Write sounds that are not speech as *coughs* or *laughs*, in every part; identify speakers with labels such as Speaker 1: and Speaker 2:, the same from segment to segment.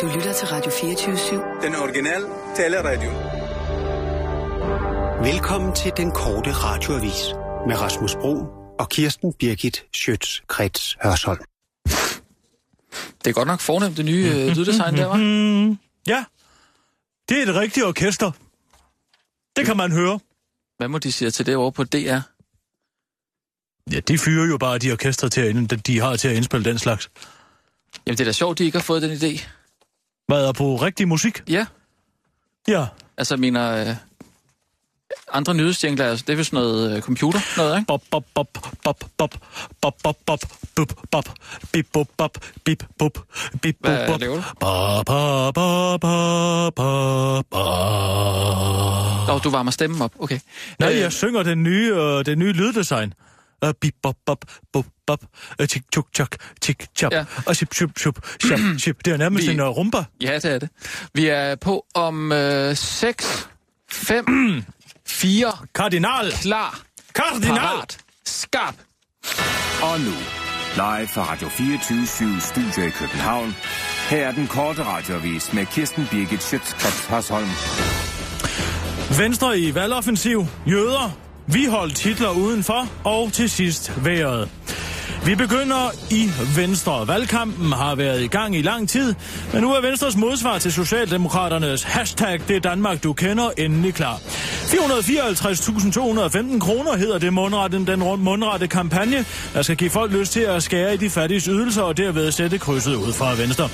Speaker 1: Du lytter til Radio 24-7.
Speaker 2: Den originale taleradio.
Speaker 3: Velkommen til den korte radioavis med Rasmus Bro og Kirsten Birgit Schøtz-Krets Hørsholm.
Speaker 4: Det er godt nok fornemt, det nye øh, lyddesign der, *laughs* var.
Speaker 5: Ja, det er et rigtigt orkester. Det kan man høre.
Speaker 4: Hvad må de sige til det over på DR?
Speaker 5: Ja, de fyrer jo bare de orkester til at, ind- de har til at indspille den slags.
Speaker 4: Jamen, det er da sjovt, de ikke har fået den idé.
Speaker 5: Hvad er på rigtig musik?
Speaker 4: Ja,
Speaker 5: Ja,
Speaker 4: altså jeg mener... Øh, andre nyhedsjængler, altså, det er vist noget øh, computer, noget, ikke?
Speaker 5: bop, bop, bop, bop, bop, bop, bop, bop, bup, bop, bip, bop, bop, bip, bop, bip, bop,
Speaker 4: Hvad
Speaker 5: bop.
Speaker 4: laver du?
Speaker 5: Ba, ba, ba, ba, ba, ba.
Speaker 4: Nå, du varmer stemmen op, okay.
Speaker 5: Nej,
Speaker 4: Øh,
Speaker 5: jeg synger den nye, øh, den nye lyddesign. Øh, bip bop bop bop bop øh, tik tuk tak tik chap
Speaker 4: Ja.
Speaker 5: og sip sip sip
Speaker 4: *clears throat*
Speaker 5: chap chip. Det er nærmest
Speaker 4: Vi-
Speaker 5: en uh, rumba.
Speaker 4: Ja, det er det. Vi er på om øh, 6, *clears throat* 5, 4,
Speaker 5: Kardinal!
Speaker 4: klar,
Speaker 5: Kardinal!
Speaker 4: parat, skarp.
Speaker 6: Og nu, live fra Radio 24 Studio i København. Her er den korte radiovis med Kirsten Birgit Schøtzgrads Hasholm.
Speaker 5: Venstre i valgoffensiv, jøder, vi holdt Hitler udenfor, og til sidst vejret. Vi begynder i Venstre. Valgkampen har været i gang i lang tid, men nu er Venstres modsvar til Socialdemokraternes hashtag det Danmark du kender endelig klar. 454.215 kroner hedder det mundrette, den rund- mundrette kampagne, der skal give folk lyst til at skære i de fattiges ydelser og derved sætte krydset ud fra Venstre.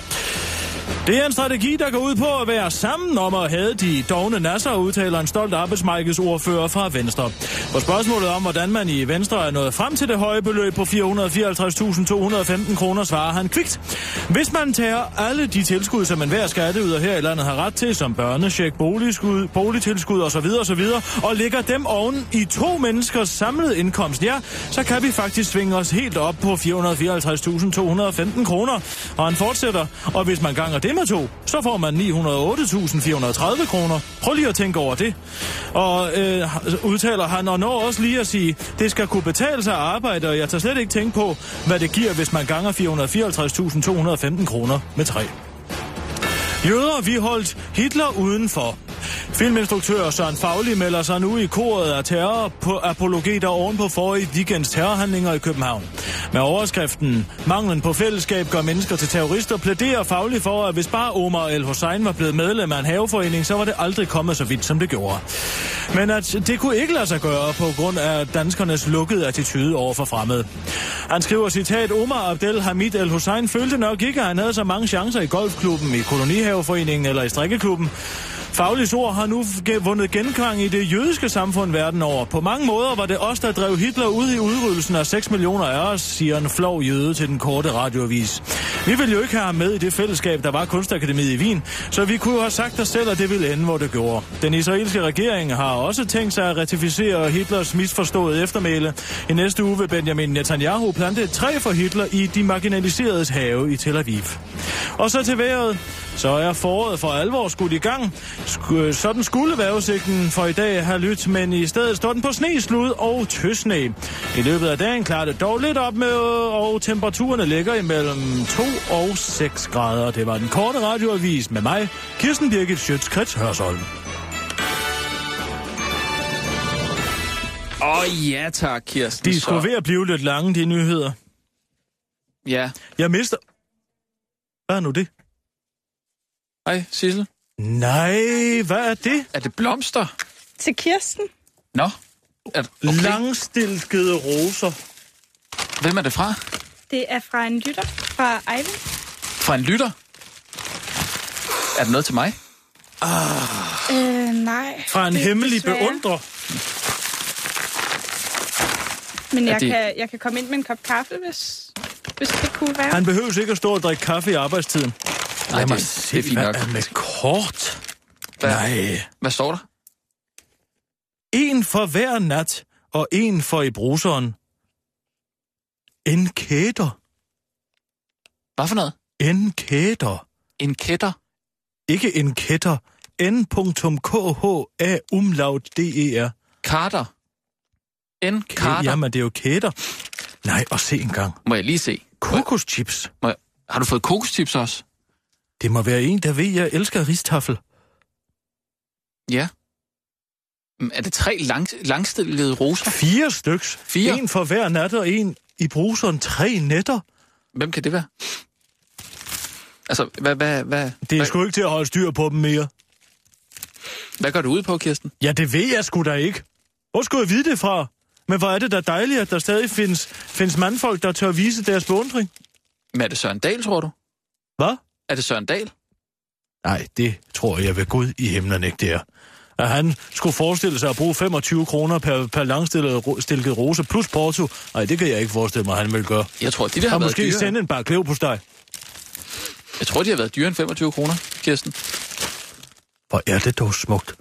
Speaker 5: Det er en strategi, der går ud på at være sammen om at have de dogne nasser, udtaler en stolt arbejdsmarkedsordfører fra Venstre. På spørgsmålet om, hvordan man i Venstre er nået frem til det høje beløb på 454.215 kroner, svarer han kvikt. Hvis man tager alle de tilskud, som enhver skatteyder her i landet har ret til, som børnecheck, boligskud, boligtilskud osv., osv., og lægger dem oven i to menneskers samlede indkomst, ja, så kan vi faktisk svinge os helt op på 454.215 kroner. Og han fortsætter, og hvis man ganger det med to, så får man 908.430 kroner. Prøv lige at tænke over det. Og øh, udtaler han, og når også lige at sige, det skal kunne betale sig at arbejde, og jeg tager slet ikke tænke på, hvad det giver, hvis man ganger 454.215 kroner med tre. Jøder, vi holdt Hitler udenfor. Filminstruktør Søren Fagli melder sig nu i koret af terror på apologeter oven på forrige weekends terrorhandlinger i København. Med overskriften Manglen på fællesskab gør mennesker til terrorister plæderer Fagli for, at hvis bare Omar El Hussein var blevet medlem af en haveforening, så var det aldrig kommet så vidt, som det gjorde. Men at det kunne ikke lade sig gøre på grund af danskernes lukkede attitude over for fremmede. Han skriver citat, Omar Abdel Hamid El Hussein følte nok ikke, at han havde så mange chancer i golfklubben, i kolonihaveforeningen eller i strikkeklubben. Faglis ord har nu ge- vundet genklang i det jødiske samfund verden over. På mange måder var det os, der drev Hitler ud i udryddelsen af 6 millioner af os, siger en flov jøde til den korte radioavis. Vi ville jo ikke have ham med i det fællesskab, der var Kunstakademiet i Wien, så vi kunne have sagt os selv, at det ville ende, hvor det gjorde. Den israelske regering har også tænkt sig at ratificere Hitlers misforståede eftermæle. I næste uge vil Benjamin Netanyahu plante et træ for Hitler i de marginaliseredes have i Tel Aviv. Og så til vejret. Så er foråret for alvor skudt i gang. Sk- øh, sådan skulle vejrudsigten for i dag have lyttet, men i stedet står den på sne, slud og tøsne. I løbet af dagen klarer det dog lidt op med, og temperaturerne ligger imellem 2 og 6 grader. Det var den korte radioavis med mig, Kirsten Birgit Schøtz-Krets Hørsholm.
Speaker 4: Åh oh, ja tak, Kirsten.
Speaker 5: De
Speaker 4: så-
Speaker 5: er sgu ved at blive lidt lange, de nyheder.
Speaker 4: Ja.
Speaker 5: Jeg mister... Hvad er nu det?
Speaker 4: Hej, Sissel.
Speaker 5: Nej, hvad er det?
Speaker 4: Er det blomster?
Speaker 7: Til Kirsten.
Speaker 4: Nå. Er,
Speaker 5: Okay.
Speaker 4: okay.
Speaker 5: Langstilkede roser.
Speaker 4: Hvem er det fra?
Speaker 7: Det er fra en lytter fra Ejvind.
Speaker 4: Fra en lytter? Er det noget til mig?
Speaker 7: Øh, nej.
Speaker 5: Fra en
Speaker 7: Det-
Speaker 5: hemmelig
Speaker 7: desværre.
Speaker 5: beundrer.
Speaker 7: Men
Speaker 4: Er det-
Speaker 7: jeg, det... kan, jeg kan komme ind med en kop kaffe, hvis, hvis det kunne være.
Speaker 5: Han behøver ikke at stå og drikke kaffe i arbejdstiden.
Speaker 4: Nej, det, det er fint nok.
Speaker 5: Hvad er med kort?
Speaker 4: Hvad,
Speaker 5: Nej.
Speaker 4: hvad står der?
Speaker 5: En for hver nat, og en for i bruseren. En kæder.
Speaker 4: Hvad for noget?
Speaker 5: En kæder.
Speaker 4: En kætter?
Speaker 5: Ikke en kætter. N.KHA umlaut E DER.
Speaker 4: Carter? En Carter? Jamen.
Speaker 5: Jamen, det er jo kæder. Nej, og se engang.
Speaker 4: Må jeg lige se? Må jeg,
Speaker 5: Kokoschips.
Speaker 4: må jeg, har du fået kokostips også?
Speaker 5: Det må være en, der ved, jeg elsker ristafel.
Speaker 4: Ja. Mm, Er det tre lang, langstillede roser?
Speaker 5: Fire styks.
Speaker 4: Fire?
Speaker 5: En for hver nat og en i bruseren tre nætter.
Speaker 4: Hvem kan det være? Altså, hvad, hvad, hvad,
Speaker 5: Det er
Speaker 4: hvad,
Speaker 5: sgu ikke til at holde styr på dem mere.
Speaker 4: hvad går du ud på, Kirsten?
Speaker 5: Ja, det ved jeg sgu da ikke. Hvor skulle jeg vide det fra? Men hvor er det da dejligt, at der stadig findes, findes mandfolk, der tør vise deres beundring.
Speaker 4: Men er det Søren Dahl, tror du?
Speaker 5: Hvad?
Speaker 4: Er det Søren Dahl?
Speaker 5: Nej, det tror jeg ved Gud i himlen ikke, det er. At han skulle forestille sig at bruge 25 kroner per, per langstillet ro- stilket rose plus porto. Nej, det kan jeg ikke forestille mig, han vil gøre.
Speaker 4: Jeg tror, de der har
Speaker 5: Og
Speaker 4: været
Speaker 5: måske
Speaker 4: dyre.
Speaker 5: sende en bare klev på dig.
Speaker 4: Jeg tror, de har været dyre end 25 kroner, Kirsten.
Speaker 5: Hvor er det dog smukt.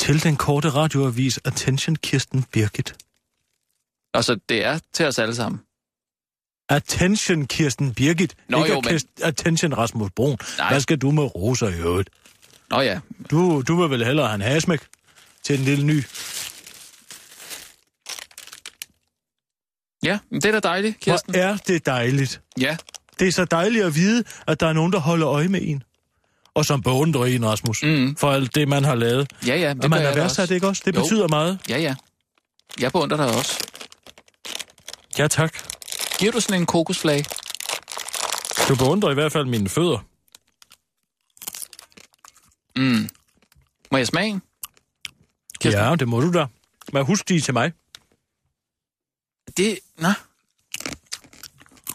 Speaker 5: Til den korte radioavis Attention Kirsten Birgit.
Speaker 4: Altså, det er til os alle sammen.
Speaker 5: Attention Kirsten Birgit.
Speaker 4: Nå,
Speaker 5: ikke
Speaker 4: jo, men-
Speaker 5: Kirst- Attention Rasmus Brun.
Speaker 4: Nej.
Speaker 5: Hvad skal du med roser i øvrigt?
Speaker 4: Nå ja,
Speaker 5: Du, du vil vel hellere have en hasmæk til den lille ny.
Speaker 4: ja, men det er da dejligt, Kirsten.
Speaker 5: Hvor er det dejligt.
Speaker 4: Ja,
Speaker 5: Det er så dejligt at vide, at der er nogen, der holder øje med en. Og som beundrer en, Rasmus.
Speaker 4: Mhm.
Speaker 5: For alt det, man har lavet.
Speaker 4: ja, ja. men
Speaker 5: og
Speaker 4: gør
Speaker 5: man
Speaker 4: jeg
Speaker 5: er
Speaker 4: da
Speaker 5: værdsat,
Speaker 4: også.
Speaker 5: ikke også? Det
Speaker 4: Jo.
Speaker 5: betyder meget.
Speaker 4: Ja, ja. Jeg beundrer dig også.
Speaker 5: Ja, tak.
Speaker 4: Giver du sådan en kokosflage?
Speaker 5: Du beundrer i hvert fald mine fødder.
Speaker 4: Må jeg smage en? Kirsten.
Speaker 5: Ja, det må du da. Men husk de er til mig.
Speaker 4: Det, nå.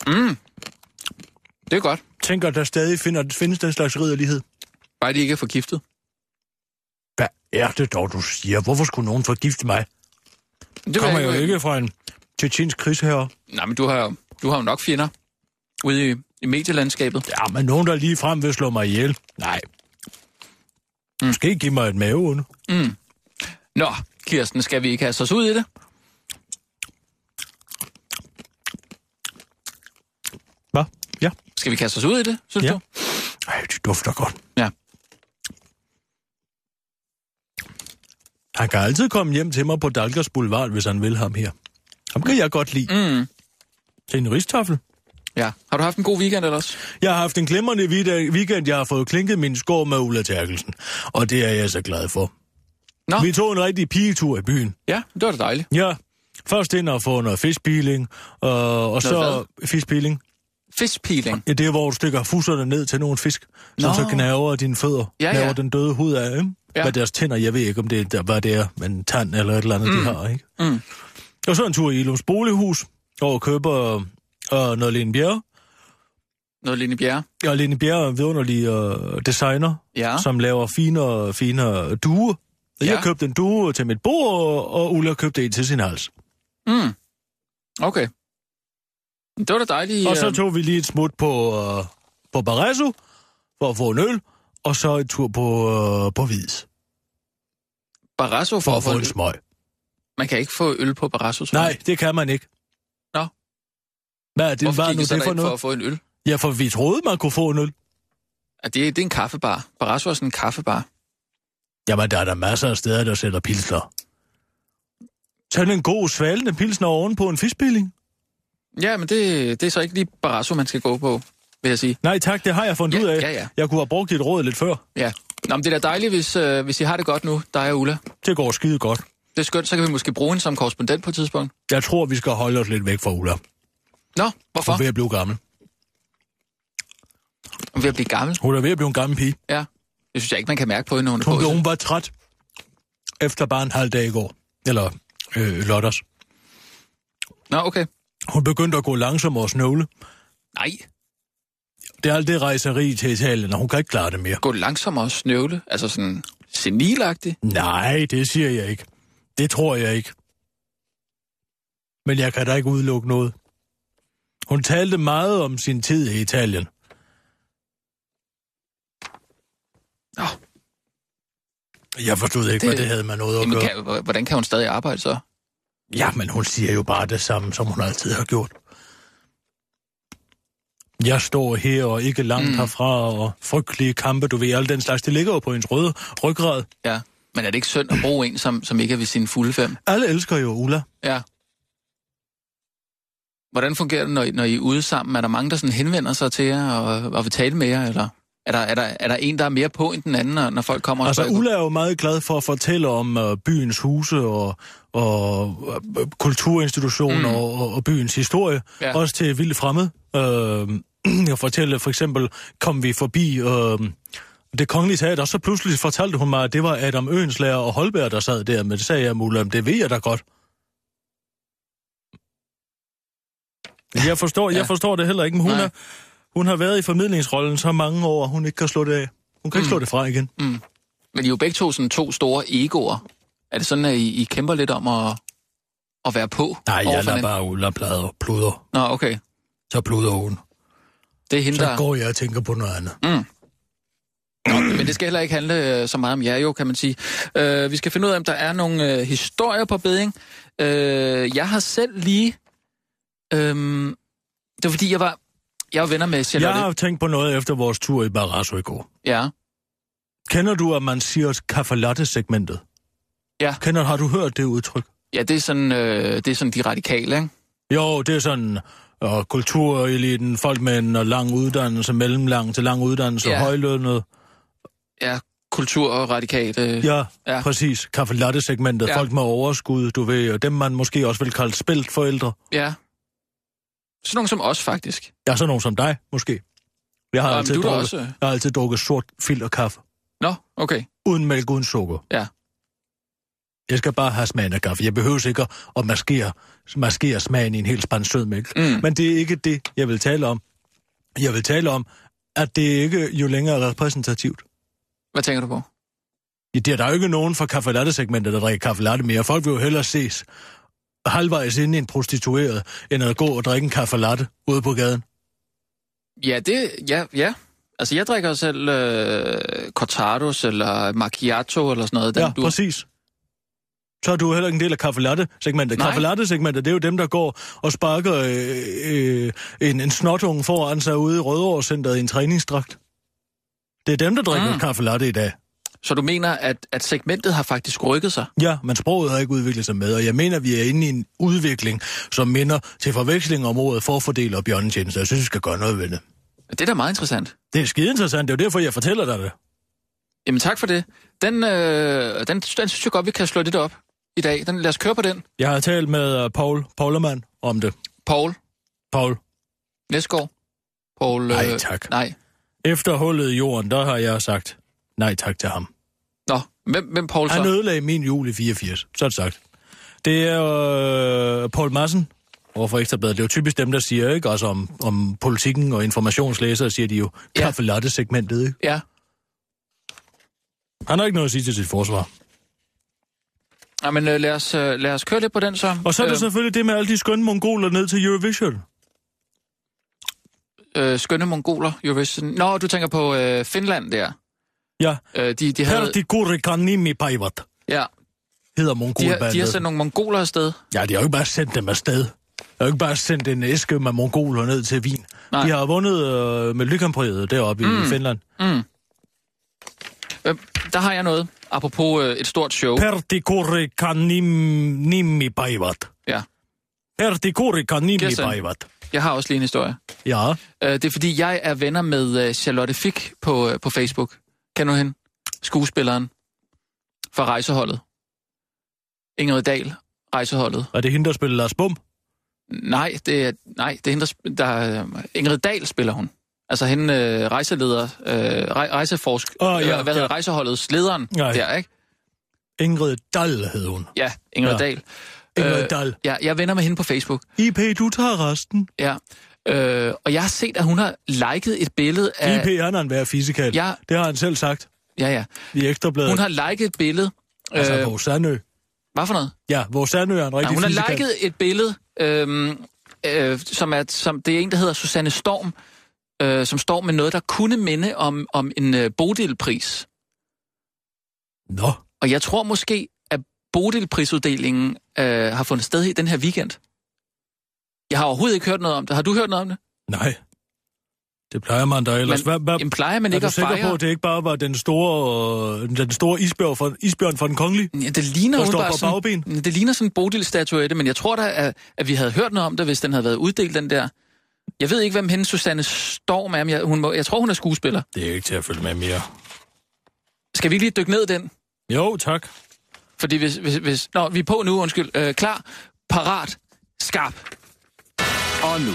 Speaker 4: Mm. Det er godt.
Speaker 5: Tænker, at der stadig finder, findes den slags ridderlighed.
Speaker 4: Bare de ikke er forgiftet.
Speaker 5: Hvad er det dog, du siger? Hvorfor skulle nogen forgifte mig?
Speaker 4: Men
Speaker 5: Det
Speaker 4: vil
Speaker 5: kommer
Speaker 4: jeg
Speaker 5: jo ikke fra en tjetjensk krigsherre.
Speaker 4: Nej, men du har, jo- du har jo nok fjender ude i, i medielandskabet.
Speaker 5: Ja, men nogen, der lige frem vil slå mig ihjel. Nej. Mm. Måske give mig et maveunde.
Speaker 4: Nå, Kirsten, skal vi ikke have os ud i det?
Speaker 5: Hvad? Ja.
Speaker 4: Skal vi kaste os ud i det, synes
Speaker 5: Ja.
Speaker 4: du?
Speaker 5: Ej, det dufter godt.
Speaker 4: Ja.
Speaker 5: Han kan altid komme hjem til mig på Dalgers Boulevard, hvis han vil ham her. Ham kan jeg godt lide.
Speaker 4: Mm.
Speaker 5: Til en ristoffel.
Speaker 4: Ja. Har du haft en god weekend ellers?
Speaker 5: Jeg har haft en glimrende vid- weekend. Jeg har fået klinket min skår med Ulla Terkelsen. Og det er jeg så glad for.
Speaker 4: Nå.
Speaker 5: Vi tog en rigtig pigetur i byen.
Speaker 4: Ja, det var da dejligt.
Speaker 5: Ja. Først ind og få noget fiskpiling, øh, og så fiskpiling.
Speaker 4: Fiskpeeling.
Speaker 5: Ja, det er, hvor du stikker fusserne ned til nogle fisk, som
Speaker 4: Nå.
Speaker 5: så gnaver dine fødder,
Speaker 4: Ja,
Speaker 5: ja, gnaver
Speaker 4: ja.
Speaker 5: ja. den døde hud af dem.
Speaker 4: Ja.
Speaker 5: Ja. Med deres tænder, jeg ved ikke, om det er, der- hvad det er, men tand eller et eller andet, mm. de har, ikke?
Speaker 4: Mm.
Speaker 5: Og så en tur i Ilums bolighus, og køber øh, noget Lene Bjerre.
Speaker 4: Noget Line Bjerre.
Speaker 5: Og Lene Bjerre er en vidunderlig øh, designer,
Speaker 4: Ja.
Speaker 5: som laver fine, fine duer. Og
Speaker 4: Ja.
Speaker 5: Jeg købte en due til mit bord, og, og Ulla købte en til sin hals.
Speaker 4: Mm. Okay. Det var da dejligt.
Speaker 5: Og så
Speaker 4: øh,
Speaker 5: tog vi lige et smut på, øh, på Barresso for at få en øl, og så en tur på, øh, på Hvids
Speaker 4: Barrasso
Speaker 5: for at få en smøg.
Speaker 4: Man kan ikke få øl på Barrasso. tror
Speaker 5: Nej,
Speaker 4: jeg.
Speaker 5: det kan man ikke.
Speaker 4: Nå.
Speaker 5: Hvad er det,
Speaker 4: Hvorfor
Speaker 5: var
Speaker 4: gik
Speaker 5: nu
Speaker 4: I så
Speaker 5: det for
Speaker 4: derind
Speaker 5: noget?
Speaker 4: for at få en øl?
Speaker 5: Ja, for vi troede, man kunne få en øl.
Speaker 4: Ja, det, er- det er en kaffebar. Barrasso er sådan en kaffebar.
Speaker 5: Jamen, der er der masser af steder, der sælger pilsner. Sådan en god svalende pilsner oven på en fiskbilling.
Speaker 4: Ja, men det, det er så ikke lige Barrasso, man skal gå på, vil jeg sige.
Speaker 5: Nej tak, det har jeg fundet
Speaker 4: Ja,
Speaker 5: ud af.
Speaker 4: ja, ja.
Speaker 5: Jeg kunne have brugt dit råd lidt før.
Speaker 4: Ja. Nå, men det er da dejligt, hvis, øh, hvis I har det godt nu, dig og Ulla.
Speaker 5: Det går skide godt.
Speaker 4: Det er skønt, så kan vi måske bruge hende som korrespondent på et tidspunkt.
Speaker 5: Jeg tror, vi skal holde os lidt væk fra Ulla.
Speaker 4: Nå,
Speaker 5: Hun
Speaker 4: hvorfor?
Speaker 5: er ved at blive gammel.
Speaker 4: Hun er ved at blive gammel.
Speaker 5: Hun er ved at blive en gammel pige.
Speaker 4: Ja. Det synes jeg ikke, man kan mærke på hende, når hun er
Speaker 5: Hun,
Speaker 4: gået.
Speaker 5: hun var træt efter bare en halv dag i går. Eller øh, lørdags.
Speaker 4: Nå, okay.
Speaker 5: Hun begyndte at gå langsommere og snøvle.
Speaker 4: Nej,
Speaker 5: Det er alt det rejseri til Italien, og hun kan ikke klare det mere.
Speaker 4: gå langsommere og snøvle. Altså sådan senilagtigt.
Speaker 5: Nej, det siger jeg ikke. Det tror jeg ikke. Men jeg kan da ikke udelukke noget. Hun talte meget om sin tid i Italien.
Speaker 4: Nå,
Speaker 5: Jeg forstod ikke, det... hvad
Speaker 4: Det-
Speaker 5: det havde med noget at
Speaker 4: jamen,
Speaker 5: gøre.
Speaker 4: kan, hvordan kan hun stadig arbejde så?
Speaker 5: Ja, men hun siger jo bare det samme, som hun altid har gjort. Jeg står her og ikke langt mm. herfra, og frygtelige kampe, du ved, al den slags, det ligger jo på ens røde ryggrad.
Speaker 4: Ja. Men er det ikke synd at bruge en, som, som ikke er ved sine fulde fem?
Speaker 5: Alle elsker jo Ulla.
Speaker 4: Ja. Hvordan fungerer det, når I, når I er ude sammen? Er der mange, der sådan henvender sig til jer og, og vil tale med jer, eller er der, er, der, er der en, der er mere på end den anden, når, når folk kommer og
Speaker 5: Altså,
Speaker 4: spørger?
Speaker 5: Ulla er jo meget glad for at fortælle om uh, byens huse og, og uh, kulturinstitutioner mm. og, og, og byens historie,
Speaker 4: Ja.
Speaker 5: ja. også til vildt fremmede. Uh, *clears throat* jeg fortæller for eksempel, kom vi forbi uh, det kongelige teater, og så pludselig fortalte hun mig, at det var Adam Øenslager og Holberg, der sad der, men det sagde jeg, Ulla, "Men det ved jeg da godt. Jeg forstår, ja.
Speaker 4: Ja.
Speaker 5: jeg forstår det heller ikke, men hun,
Speaker 4: Nej.
Speaker 5: er, hun har været i formidlingsrollen så mange år, at hun ikke kan slå det af. Hun kan mm. ikke slå det fra igen.
Speaker 4: Men I er jo begge to sådan to store egoer. Er det sådan, at I, I kæmper lidt om at, at være på? overfor
Speaker 5: Nej, jeg lader
Speaker 4: hinanden?
Speaker 5: bare ud og plader, pluder.
Speaker 4: Nå, okay.
Speaker 5: Så pluder hun.
Speaker 4: Det er hende,
Speaker 5: Så
Speaker 4: der...
Speaker 5: går jeg og tænker på noget andet.
Speaker 4: Nå, men det skal heller ikke handle øh, så meget om jer jo, kan man sige. Øh, vi skal finde ud af, om der er nogle øh, historier på beding. Øh, jeg har selv lige... Øh, det var fordi, jeg var, jeg var venner med
Speaker 5: Jeg
Speaker 4: Charlotte.
Speaker 5: har tænkt på noget efter vores tur i Barrasso i går.
Speaker 4: Ja.
Speaker 5: Kender du, at man siger kaffelatte-segmentet?
Speaker 4: Ja.
Speaker 5: Kender, har du hørt det udtryk?
Speaker 4: ja, det er sådan, øh, det er sådan de radikale, ikke?
Speaker 5: Jo, det er sådan og kultureliten, folk med en lang uddannelse, mellemlang til lang uddannelse,
Speaker 4: Ja.
Speaker 5: ja. højlønnet.
Speaker 4: Ja, kultur og radikale. Øh,
Speaker 5: Ja,
Speaker 4: Ja.
Speaker 5: ja. præcis. Kaffelatte-segmentet,
Speaker 4: Ja.
Speaker 5: ja. folk med overskud, du ved, og dem man måske også vil kalde spildt forældre.
Speaker 4: ja. Sådan nogen som os, faktisk.
Speaker 5: Ja, sådan nogen som dig, måske. Jeg har,
Speaker 4: Nå, men
Speaker 5: altid
Speaker 4: du er da
Speaker 5: drukket,
Speaker 4: også-
Speaker 5: jeg har altid drukket sort filterkaffe.
Speaker 4: Nå, okay.
Speaker 5: Uden mælk, uden sukker.
Speaker 4: Ja.
Speaker 5: Jeg skal bare have smagen af kaffe. Jeg behøver ikke at maskere, maskere smagen i en helt spand sød mælk.
Speaker 4: Mm.
Speaker 5: Men det er ikke det, jeg vil tale om. Jeg vil tale om, at det ikke jo længere er repræsentativt.
Speaker 4: Hvad tænker du på?
Speaker 5: Ja, det er der jo ikke nogen fra kaffelatte-segmentet, der drikker kaffelatte mere. Folk vil jo hellere ses halvvejs inde i en prostitueret, end at gå og drikke en kaffelatte ude på gaden.
Speaker 4: Ja, det... Ja, ja. Altså, jeg drikker selv øh, Cortados eller Macchiato eller sådan noget. Den
Speaker 5: Ja,
Speaker 4: dur.
Speaker 5: præcis. Så er du heller ikke en del af kaffelatte-segmentet.
Speaker 4: Nej.
Speaker 5: Kaffelatte-segmentet, det er jo dem, der går og sparker øh, øh, en, en snotunge foran sig ude i Rødovrecenteret i en træningsdragt. Det er dem, der drikker
Speaker 4: Mm.
Speaker 5: mm. kaffelatte i dag.
Speaker 4: Så du mener, at, at segmentet har faktisk rykket sig?
Speaker 5: Ja, men sproget har ikke udviklet sig med, og jeg mener, vi er inde i en udvikling, som minder til forveksling om ordet forfordel og bjørnetjenester. Jeg synes, vi skal gøre noget ved det.
Speaker 4: Det er da meget interessant.
Speaker 5: Det er skide interessant, det er jo derfor, jeg fortæller dig det.
Speaker 4: Jamen tak for det. Den, øh, den, den synes jeg godt, vi kan slå lidt op i dag. Den, lad os køre på den.
Speaker 5: Jeg har talt med øh, Paul Paulermann om det.
Speaker 4: Paul
Speaker 5: Paul,
Speaker 4: Næsgaard. Paul,
Speaker 5: Nej, tak.
Speaker 4: øh, Nej.
Speaker 5: efter hullet i jorden, der har jeg sagt nej tak til ham.
Speaker 4: Nå, hvem, hvem Paul så?
Speaker 5: Han ødelagde min jul i 84, sådan sagt. Det er øh, Paul Madsen overfor Ekstrabladet. Det er jo typisk dem, der siger, ikke? Også om, om politikken og informationslæsere, siger de jo,
Speaker 4: Ja.
Speaker 5: kaffe latte segmentet, ikke?
Speaker 4: Ja.
Speaker 5: Han har ikke noget at sige til sit forsvar.
Speaker 4: Nej, men øh, lad, os, øh, lad os køre lidt på den så.
Speaker 5: Og så er øh. det selvfølgelig det med alle de skønne mongoler ned til Eurovision.
Speaker 4: Øh, skønne mongoler, Eurovision. Nå, du tænker på øh, Finland der.
Speaker 5: Ja,
Speaker 4: Øh, de, de havde,
Speaker 5: Pertikurikanimi Paivat
Speaker 4: ja,
Speaker 5: hedder
Speaker 4: de, har,
Speaker 5: mongolbandet.
Speaker 4: de har sendt nogle mongoler afsted.
Speaker 5: Ja, de har jo ikke bare sendt dem afsted. Jeg har jo ikke bare sendt en æske med mongoler ned til Wien.
Speaker 4: Nej.
Speaker 5: Nej. De har vundet øh, med lykkampriet deroppe mm. i Finland.
Speaker 4: Øh, der har jeg noget, apropos øh, et stort show.
Speaker 5: Pertikurikanimi Paivat.
Speaker 4: Ja,
Speaker 5: Pertikurikanimi
Speaker 4: Kirsten.
Speaker 5: Paivat.
Speaker 4: jeg har også lige en historie.
Speaker 5: Ja,
Speaker 4: Øh, det er fordi, jeg er venner med øh, Charlotte Fick på, øh, på Facebook. Kender du hende? Skuespilleren fra rejseholdet. Ingrid Dahl, rejseholdet.
Speaker 5: og det er hende, der spiller Lars Bum.
Speaker 4: Nej, det er, nej, det er hende, der, sp- der... øh, Ingrid Dahl spiller hun. Altså hende øh, rejseleder, øh, rej, rejseforsk...
Speaker 5: Åh, ja,
Speaker 4: øh, hvad hedder
Speaker 5: ja.
Speaker 4: rejseholdets lederen
Speaker 5: Ja, ja.
Speaker 4: der, ikke?
Speaker 5: Ingrid Dahl hed hun.
Speaker 4: Ja, Ingrid
Speaker 5: Ja.
Speaker 4: Dahl.
Speaker 5: Ingrid
Speaker 4: Øh,
Speaker 5: Dahl.
Speaker 4: Ja, jeg er venner med hende på Facebook.
Speaker 5: IP, du tager resten.
Speaker 4: Ja. Øh, og jeg har set, at hun har liket et billede af...
Speaker 5: IP, han er en værd fysikal.
Speaker 4: Ja.
Speaker 5: Det har han selv sagt
Speaker 4: Ja, ja.
Speaker 5: i Ekstrabladet.
Speaker 4: Hun har liket et billede...
Speaker 5: Altså,
Speaker 4: øh,
Speaker 5: vores Sandø.
Speaker 4: hvad for noget?
Speaker 5: Ja, vores Sandø er en
Speaker 4: Ja,
Speaker 5: rigtig
Speaker 4: hun har
Speaker 5: fysikal.
Speaker 4: liket et billede, øhm, øh, som, er, som det er en, der hedder Susanne Storm, øh, som står med noget, der kunne minde om, om en øh, Bodilpris.
Speaker 5: Nå,
Speaker 4: Og jeg tror måske, at Bodilprisuddelingen øh, har fundet sted i den her weekend. Jeg har overhovedet ikke hørt noget om det. Har du hørt noget om det?
Speaker 5: nej. Det plejer man da ellers. Hvad,
Speaker 4: Men,
Speaker 5: hvad,
Speaker 4: jamen, plejer man
Speaker 5: er
Speaker 4: ikke
Speaker 5: du
Speaker 4: at
Speaker 5: sikker på,
Speaker 4: fejre?
Speaker 5: at det ikke bare var den store, øh, den store isbjørn for, isbjørn for den kongelige?
Speaker 4: Ja, det ligner
Speaker 5: Der
Speaker 4: hun
Speaker 5: står
Speaker 4: bare
Speaker 5: på
Speaker 4: sådan,
Speaker 5: bagben.
Speaker 4: Ja, Det ligner sådan en Bodil-statuette, men jeg tror da, at, at vi havde hørt noget om det, hvis den havde været uddelt, den der. Jeg ved ikke, hvem hende Susanne Storm er, men jeg, hun må, jeg tror, hun er skuespiller.
Speaker 5: Det er jo ikke til at følge med mere.
Speaker 4: Skal vi ikke lige dykke ned i den?
Speaker 5: Jo, tak.
Speaker 4: Fordi hvis... hvis, hvis nå, vi er på nu, undskyld. Øh, klar, parat, skarp.
Speaker 6: Og nu,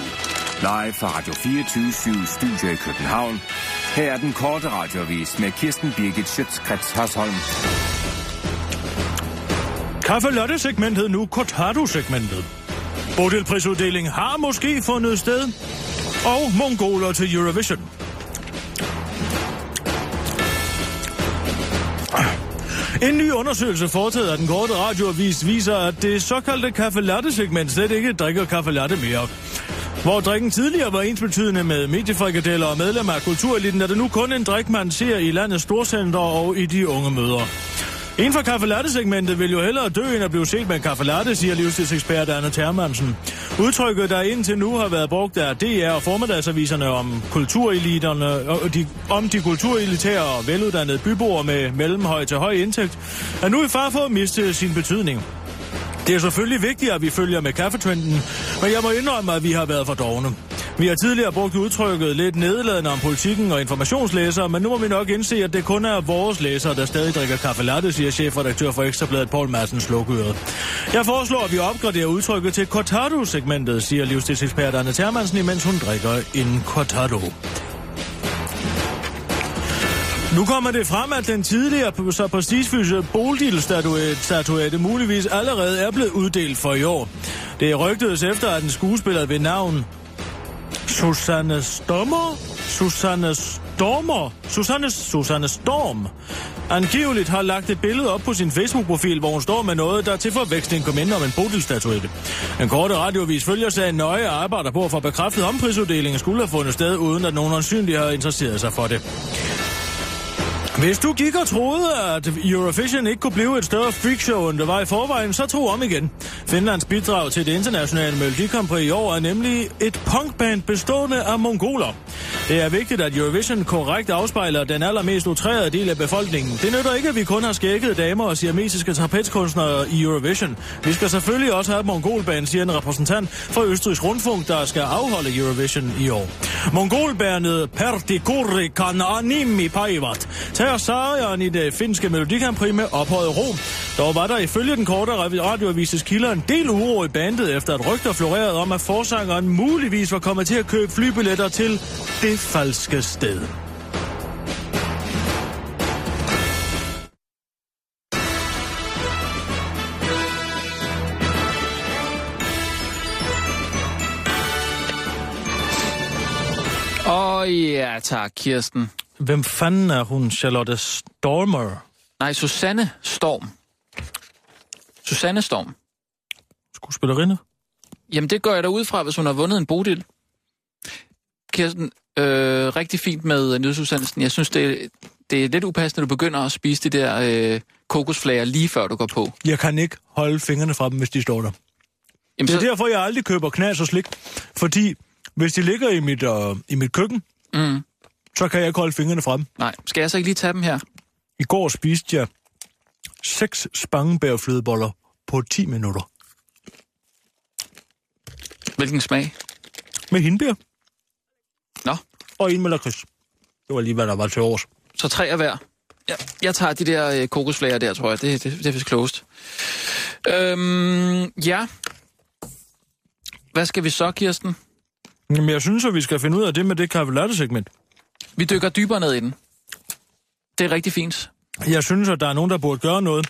Speaker 6: live fra Radio 24 Studio i København. Her er den korte radiovis med Kirsten Birgit Schøtzgrads Hasholm.
Speaker 5: Kaffelotte-segmentet nu Cortado-segmentet. Bodilprisuddeling har måske fundet sted, og mongoler til Eurovision. En ny undersøgelse foretaget af den korte radioavis viser, at det såkaldte kaffelatte-segment slet ikke drikker kaffelatte mere. Hvor drikken tidligere var ensbetydende med mediefrikadeller og medlemmer af kultureliten, er det nu kun en drik, man ser i landets storcentre og i de unge møder. Inden for kaffelatte-segmentet vil jo hellere dø, end at blive set med en kaffelatte, siger livsstilsekspert Anna Thermansen. Udtrykket, der indtil nu har været brugt af DR og formiddagsaviserne om kultureliterne, og de, om de kulturelitære og veluddannede byboer med mellemhøj til høj indtægt, er nu i far for at miste sin betydning. Det er selvfølgelig vigtigt, at vi følger med kaffetrenden, men jeg må indrømme, at vi har været for dogne. Vi har tidligere brugt udtrykket lidt nedladende om politikken og informationslæsere, men nu må vi nok indse, at det kun er vores læsere, der stadig drikker kaffe latte, siger chefredaktør for Ekstrabladet Poul Madsen Slukøret. Jeg foreslår, at vi opgraderer udtrykket til cortado-segmentet, siger livsstilsekspert Anne Thermansen, imens hun drikker en cortado. Nu kommer det frem, at den tidligere så prestigefyldte Boldil-statuette muligvis allerede er blevet uddelt for i år. Det er rygtedes efter, at en skuespiller ved navn Susanne Stommer? Susanne Stormer? Susanne, Susanne Storm? Angiveligt har lagt et billede op på sin Facebook-profil, hvor hun står med noget, der til forveksling kom ind om en bodilstatuette. Den korte radiovis følger sagen nøje og arbejder på at få bekræftet, om prisuddelingen skulle have fundet sted, uden at nogen ansynlig har interesseret sig for det. Hvis du gik og troede, at Eurovision ikke kunne blive et større freakshow, end det var i forvejen, så tro om igen. Finlands bidrag til det internationale Melodi Grand Prix i år er nemlig et punkband bestående af mongoler. Det er vigtigt, at Eurovision korrekt afspejler den allermest utrærede del af befolkningen. Det nytter ikke, at vi kun har skækkede damer og siamesiske trapezkunstnere i Eurovision. Vi skal selvfølgelig også have et mongolband, siger en repræsentant for Østrigs Rundfunk, der skal afholde Eurovision i år. Mongolbandet Pertikuri Kananimi Paivat tager sejren i det finske Melodi Grand Prix med ophøjet ro. Dog var der ifølge den korte ravi- radioavises kilder en del uro i bandet, efter at rygter florerede om, at forsangeren muligvis var kommet til at købe flybilletter til det falske sted.
Speaker 4: Åh oh, ja, tak, Kirsten.
Speaker 5: Hvem fanden er hun, Charlotte Stormer?
Speaker 4: Nej, Susanne Storm. Susanne Storm.
Speaker 5: Skuespillerinde?
Speaker 4: Jamen, det gør jeg da ud fra, hvis hun har vundet en bodil. Kirsten, øh, rigtig fint med nyhedsudsendelsen. Jeg synes, det, det er lidt upassende, at du begynder at spise de der øh, kokosflager lige før du går på.
Speaker 5: Jeg kan ikke holde fingrene fra dem, hvis de står der.
Speaker 4: Jamen,
Speaker 5: Det
Speaker 4: så,
Speaker 5: er derfor, jeg aldrig køber knas og slik. Fordi hvis de ligger i mit, øh, i mit køkken,
Speaker 4: Mm.
Speaker 5: så kan jeg ikke holde fingrene frem.
Speaker 4: Nej, skal jeg så ikke lige tage dem her?
Speaker 5: I går spiste jeg seks spangebærflødeboller på 10 minutter.
Speaker 4: Hvilken smag?
Speaker 5: Med hindbær
Speaker 4: Nå,
Speaker 5: og en med lakrids. Det var lige, hvad der var til års.
Speaker 4: så tre af hver. Jeg, jeg tager de der øh, kokosflager der, tror jeg. Det, det, det er vist klogest. Øhm, ja. Hvad skal vi så, Kirsten?
Speaker 5: Men jeg synes, at vi skal finde ud af det med det kaffelatte-segment.
Speaker 4: Vi dykker dybere ned i den. Det er rigtig fint.
Speaker 5: Jeg synes, at der er nogen, der burde gøre noget.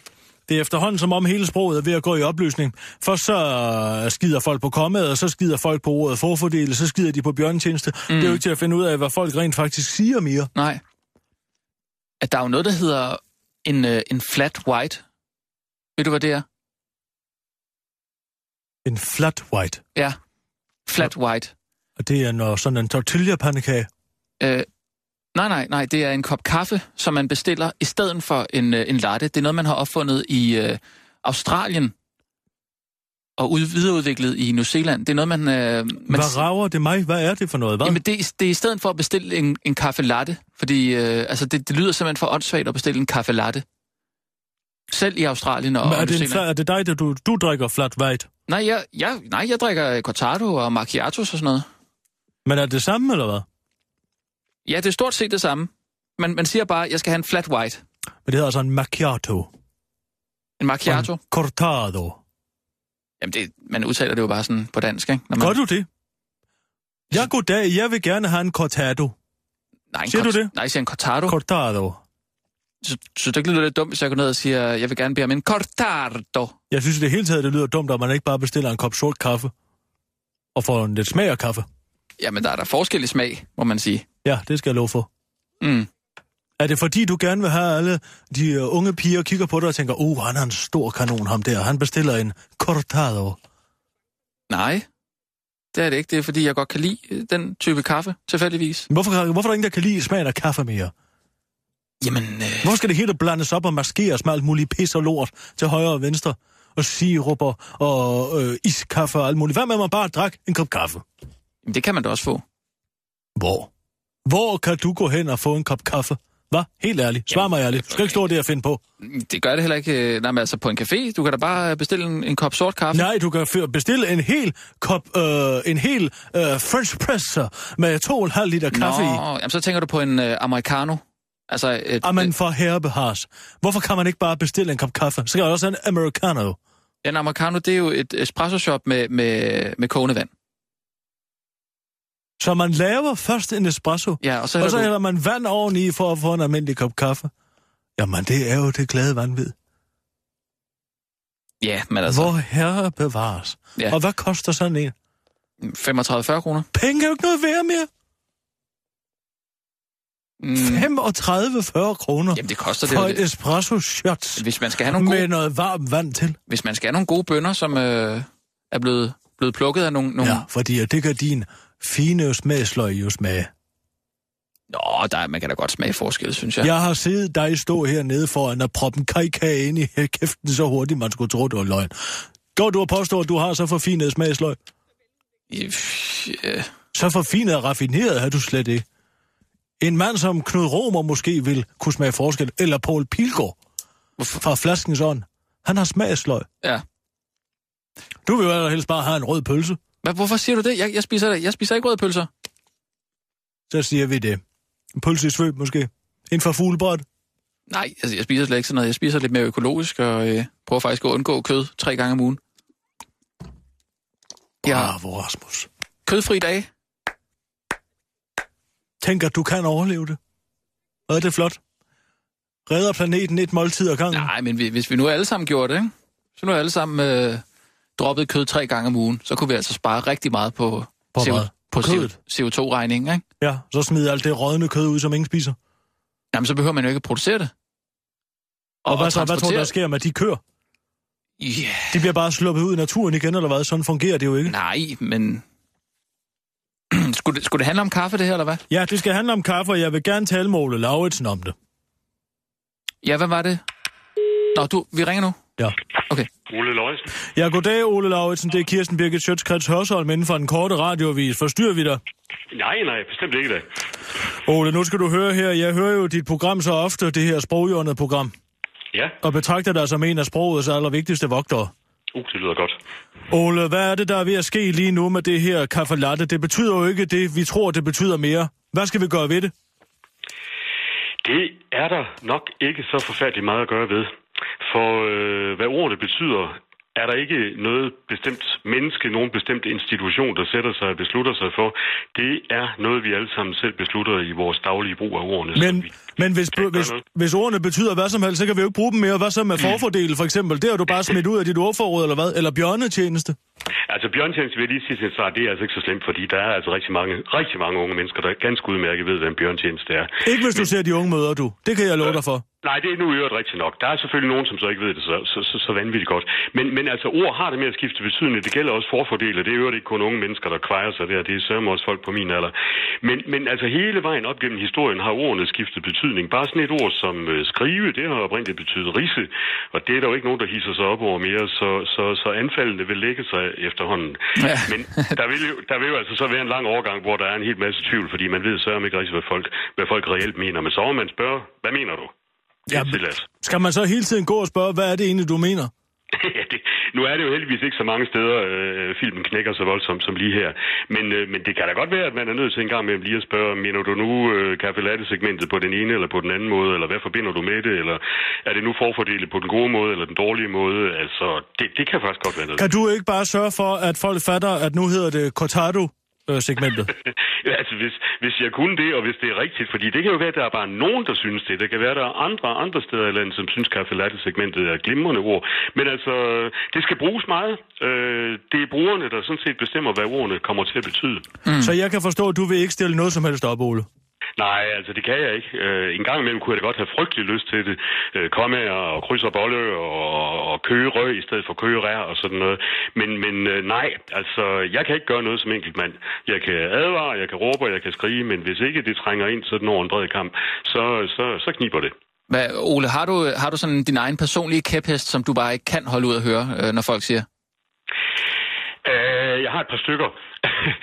Speaker 5: Det er efterhånden, som om hele sproget er ved at gå i opløsning. Først så skider folk på kommet, og så skider folk på ordet forfordele, så skider de på bjørntjeneste. Mm. Det er jo ikke til at finde ud af, hvad folk rent faktisk siger mere.
Speaker 4: Nej. At der er jo noget, der hedder en, øh, en flat white. Ved du, hvad det er?
Speaker 5: En flat white.
Speaker 4: Ja. Flat white.
Speaker 5: Og det er når sådan en tortillapandekage.
Speaker 4: Øh, nej, nej, nej. Det er en kop kaffe, som man bestiller i stedet for en, øh, en latte. Det er noget, man har opfundet i øh, Australien. og ud, videreudviklet i New Zealand. Det er noget, man... Øh, man
Speaker 5: Hvad rager det mig? Hvad er det for noget? Hvad?
Speaker 4: Jamen, det, det er i stedet for at bestille en, en kaffe latte, fordi øh, altså, det, det lyder simpelthen for åndssvagt at bestille en kaffe latte. Selv i Australien og,
Speaker 5: Men er,
Speaker 4: og New
Speaker 5: det en,
Speaker 4: Zealand.
Speaker 5: fla- er det dig, der du, du drikker flat white?
Speaker 4: Nej, jeg, jeg, nej, jeg drikker øh, cortado og macchiatos og sådan noget.
Speaker 5: Men er det samme, eller hvad?
Speaker 4: Ja, det er stort set det samme. Man, man siger bare, at jeg skal have en flat white.
Speaker 5: Men det hedder altså en macchiato. og
Speaker 4: En macchiato.
Speaker 5: En cortado.
Speaker 4: Jamen, det, man udtaler det jo bare sådan på dansk, ikke? Når man,
Speaker 5: Gør du det? Ja, goddag. Jeg vil gerne have en cortado.
Speaker 4: nej, en
Speaker 5: siger du
Speaker 4: cort-
Speaker 5: det?
Speaker 4: Nej, jeg siger en cortado. Cort-
Speaker 5: Cortado.
Speaker 4: så, så det ikke lyder lidt dumt, hvis jeg går ned og siger, jeg vil gerne bede om en cortado.
Speaker 5: Jeg synes i det hele taget, det lyder dumt, at man ikke bare bestiller en kop sort kaffe. Og får en lidt smag af kaffe.
Speaker 4: Jamen, der er der forskellig smag, må man sige.
Speaker 5: Ja, det skal jeg love for.
Speaker 4: Mm.
Speaker 5: Er det fordi, du gerne vil have alle de øh, unge piger kigger på dig og tænker, oh, han er en stor kanon, ham der. Han bestiller en cortado.
Speaker 4: Nej, det er det ikke. Det er, fordi jeg godt kan lide øh, den type kaffe, tilfældigvis.
Speaker 5: Hvorfor, hvorfor er der ingen, der kan lide smagen af kaffe mere?
Speaker 4: Jamen, øh,
Speaker 5: Hvorfor skal det hele blandes op og maskeres med alt muligt pis og lort til højre og venstre? Og sirupper og øh, iskaffe og alt muligt. Hvad med, at man bare drak en kop kaffe?
Speaker 4: jamen, det kan man da også få.
Speaker 5: Hvor? Hvor kan du gå hen og få en kop kaffe? Hvad? Helt ærligt. Svar mig ærligt. Du skal ikke stå der og finde på.
Speaker 4: Det gør det heller ikke. øh, Nej, men altså på en café. Du kan da bare øh, bestille en, en kop sort kaffe.
Speaker 5: Nej, du kan fyr- bestille en hel kop, øh, en hel øh, French presser med 2,5 liter kaffe i.
Speaker 4: Nå, jamen, så tænker du på en øh, americano. Altså, et,
Speaker 5: Amen Ah, for herrebehars. Hvorfor kan man ikke bare bestille en kop kaffe? Så kan jeg også have en americano.
Speaker 4: øh, en americano, det er jo et espresso shop med, med, med kogende vand.
Speaker 5: Så man laver først en espresso,
Speaker 4: Ja, og så,
Speaker 5: og så
Speaker 4: du,
Speaker 5: hælder man vand oveni for at få en almindelig kop kaffe. Jamen, det er jo det glade vanvid.
Speaker 4: Ja, men
Speaker 5: Altså.
Speaker 4: altså,
Speaker 5: Hvor herre bevares. Ja.
Speaker 4: Ja.
Speaker 5: Og hvad koster sådan en?
Speaker 4: 35-40 kroner.
Speaker 5: Penge er jo ikke noget værd mere.
Speaker 4: Mm,
Speaker 5: Mm. 35-40 kroner
Speaker 4: jamen, det koster det,
Speaker 5: for
Speaker 4: jo
Speaker 5: et
Speaker 4: det.
Speaker 5: espresso shot
Speaker 4: Hvis man skal have nogle
Speaker 5: med
Speaker 4: gode,
Speaker 5: noget varmt vand til.
Speaker 4: hvis man skal have nogle gode bønder, som øh, er blevet, blevet plukket af nogle... nogle...
Speaker 5: Ja, fordi det kan din fine smagsløg jo smage.
Speaker 4: Nå, der, er- man kan da godt smage forskel, synes jeg.
Speaker 5: Jeg har set dig stå hernede foran og proppe en kajkage ind i *laughs* kæften så hurtigt, man skulle tro, det var løgn. Går du og påstår, at du har så forfinet smagsløg?
Speaker 4: I- f- øh,
Speaker 5: Så forfinet og raffineret er du slet ikke. En mand som Knud Romer måske vil kunne smage forskel, eller Paul Pilgaard
Speaker 4: Hvorfor?
Speaker 5: fra Flaskens Ånd. Han har smagsløg.
Speaker 4: Ja.
Speaker 5: Du vil jo allerhelst bare have en rød pølse.
Speaker 4: Hvad, hvorfor siger du det? Jeg, jeg, spiser, jeg spiser ikke røde pølser.
Speaker 5: Så siger vi det. En pølse i svøb måske. En fra fuglebræt.
Speaker 4: Nej, altså, jeg spiser slet ikke sådan noget. Jeg spiser lidt mere økologisk, og øh, prøver faktisk at undgå kød tre gange om ugen. Jeg har
Speaker 5: Bravo, Rasmus.
Speaker 4: kødfri dag.
Speaker 5: Tænk, at du kan overleve det. Hvad er det flot? Redder planeten et måltid ad gangen.
Speaker 4: Nej, men vi, hvis vi nu alle sammen gjorde det, ikke? så nu alle sammen øh, droppet kød tre gange om ugen, så kunne vi altså spare rigtig meget på,
Speaker 5: På hvad?
Speaker 4: på
Speaker 5: På kødet?
Speaker 4: CO2-regningen. Ikke?
Speaker 5: Ja, så smid alt det rådne kød ud, som ingen spiser.
Speaker 4: Jamen, så behøver man jo ikke at producere det.
Speaker 5: Og, og hvad, så, hvad tror du,
Speaker 4: transportere
Speaker 5: der sker med de køer?
Speaker 4: det. Ja,
Speaker 5: De bliver bare sluppet ud i naturen igen, eller hvad? Sådan fungerer det jo ikke.
Speaker 4: nej, men... *clears throat* skulle, det, skulle det handle om kaffe, det her, eller hvad?
Speaker 5: Ja, det skal handle om kaffe, og jeg vil gerne tale med Ole Lauritsen om det.
Speaker 4: Ja, hvad var det? Nå, du, vi ringer nu.
Speaker 5: Ja.
Speaker 4: Okay.
Speaker 8: Ole Løjsen.
Speaker 5: Ja, goddag Ole Lauritsen. Det er Kirsten Birgit Sjøtskrets Hørsholm inden for den korte radioavis. Forstyrrer vi dig?
Speaker 8: Nej, nej, bestemt ikke da.
Speaker 5: Ole, nu skal du høre her. Jeg hører jo dit program så ofte, det her sproghjørnet program,
Speaker 8: Ja,
Speaker 5: og betragter dig som en af sprogets allervigtigste vogtere.
Speaker 8: uh, det lyder godt.
Speaker 5: Ole, hvad er det, der er ved at ske lige nu med det her kaffe latte? Det betyder jo ikke det, vi tror, det betyder mere. Hvad skal vi gøre ved det?
Speaker 8: Det er der nok ikke så forfærdeligt meget at gøre ved. For øh, hvad ordene betyder, er der ikke noget bestemt menneske, nogen bestemt institution, der sætter sig og beslutter sig for. Det er noget, vi alle sammen selv beslutter i vores daglige brug af ordene. Så
Speaker 5: Men,
Speaker 8: vi-
Speaker 5: men hvis,
Speaker 8: kan ikke
Speaker 5: hvis,
Speaker 8: gøre noget.
Speaker 5: hvis ordene betyder hvad som helst, så kan vi jo ikke bruge dem mere. Hvad så med forfordele, for eksempel? Det har du bare smidt ud af dit ordforråd, eller hvad? Eller bjørnetjeneste?
Speaker 8: Altså bjørntjeneste vil jeg lige sige til en start, det er altså ikke så slemt, fordi der er altså rigtig mange, rigtig mange unge mennesker, der ganske udmærket ved, hvad en bjørntjeneste er.
Speaker 5: Ikke hvis du ser de unge møder, du. Det kan jeg love dig for.
Speaker 8: Nej, det er nu i øvrigt rigtigt nok. Der er selvfølgelig nogen, som så ikke ved det så, så, så, så vanvittigt godt. Men, men altså, ord har det med at skifte betydning. Det gælder også forfordele. Det er i øvrigt ikke kun unge mennesker, der kvejer sig der. Det er sørme også folk på min alder. Men, men altså, hele vejen op gennem historien har ordene skiftet betydning. Bare sådan et ord som øh, skrive, det har oprindeligt betydet risse. Og det er der jo ikke nogen, der hisser sig op over mere, så, så, så anfaldene vil lægge sig efterhånden.
Speaker 4: Ja.
Speaker 8: Ja. Men der vil, jo, der vil jo altså så være en lang overgang, hvor der er en hel masse tvivl, fordi man ved sørme ikke rigtig, hvad folk, hvad folk reelt mener. Men så må man spørge, hvad mener du? Det er
Speaker 5: Jamen.
Speaker 8: tilladt.
Speaker 5: Skal man så hele tiden gå og spørge, hvad er det egentlig, du mener?
Speaker 8: *laughs* Ja, det, nu er det jo heldigvis ikke så mange steder, øh, filmen knækker så voldsomt som lige her. Men, øh, men det kan da godt være, at man er nødt til en gang imellem lige at spørge, mener du nu øh, kaffe latte-segmentet på den ene eller på den anden måde, eller hvad forbinder du med det, eller er det nu forfordelt på den gode måde eller den dårlige måde? Altså, det, det kan faktisk godt være noget.
Speaker 5: Kan du ikke bare sørge for, at folk fatter, at nu hedder det Cortado-segmentet?
Speaker 8: *laughs* Ja, altså, hvis, hvis jeg kunne det, og hvis det er rigtigt, fordi det kan jo være, at der er bare nogen, der synes det. Der kan være, der er andre andre steder i landet, som synes, kaffe latte-segmentet er et glimrende ord. Men altså, det skal bruges meget. Øh, det er brugerne, der sådan set bestemmer, hvad ordene kommer til at betyde.
Speaker 5: Mm. Så jeg kan forstå, at du vil ikke stille noget som helst op, Ole.
Speaker 8: Nej, altså, det kan jeg ikke. Øh, en gang imellem kunne jeg da godt have frygtelig lyst til det. Øh, komme og krydse og bolle og, og køge røg i stedet for køge rær og sådan noget. Men, men øh, nej, altså, jeg kan ikke gøre noget som enkeltmand. Jeg kan advare, jeg kan råbe, og jeg kan skrige, men hvis ikke det trænger ind sådan over en bred kamp, så, så, så kniber det.
Speaker 4: Hvad, Ole, har du, har du sådan din egen personlige kæphest, som du bare ikke kan holde ud at høre, øh, når folk siger?
Speaker 8: Øh, jeg har et par stykker.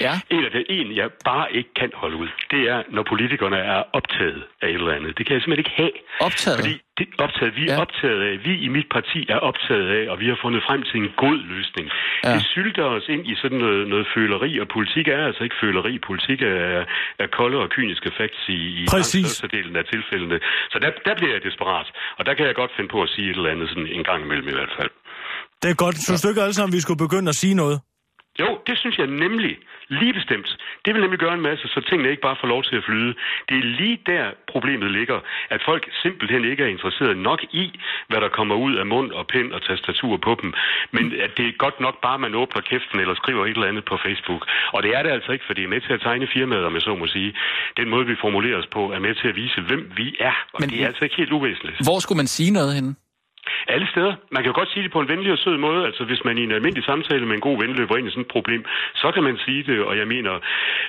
Speaker 4: Ja.
Speaker 8: *laughs* en af det en, jeg bare ikke kan holde ud, det er, når politikerne er optaget af et eller andet. Det kan jeg simpelthen ikke have.
Speaker 4: Optaget?
Speaker 8: Fordi det er optaget, vi er
Speaker 4: Ja.
Speaker 8: ja. optaget af, vi i mit parti er optaget af, og vi har fundet frem til en god løsning.
Speaker 4: Ja.
Speaker 8: Ja. Det sylter os ind i sådan noget, noget føleri, og politik er altså ikke føleri. Politik er, er kolde og kyniske facts i, i
Speaker 5: Præcis.
Speaker 8: langt størstedelen af tilfældene. Så der, der bliver jeg desperat, og der kan jeg godt finde på at sige et eller andet sådan en gang imellem i hvert fald.
Speaker 5: Det er godt. Synes du ikke alle sammen, vi skulle begynde at sige noget?
Speaker 8: Jo, det synes jeg nemlig. Lige bestemt. Det vil nemlig gøre en masse, så tingene ikke bare får lov til at flyde. Det er lige der problemet ligger, at folk simpelthen ikke er interesseret nok i, hvad der kommer ud af mund og pind og tastatur på dem. Men at det er godt nok bare, at man åbner kæften eller skriver et eller andet på Facebook. Og det er det altså ikke, for det er med til at tegne firmaet, om jeg så må sige. Den måde, vi formulerer os på, er med til at vise, hvem vi er. Og
Speaker 4: Men-
Speaker 8: Men... det er altså ikke helt uvæsentligt.
Speaker 4: Hvor skulle man sige noget henne?
Speaker 8: Alle steder. Man kan jo godt sige det på en venlig og sød måde. Altså, hvis man i en almindelig samtale med en god ven løber ind i sådan et problem, så kan man sige det, og jeg mener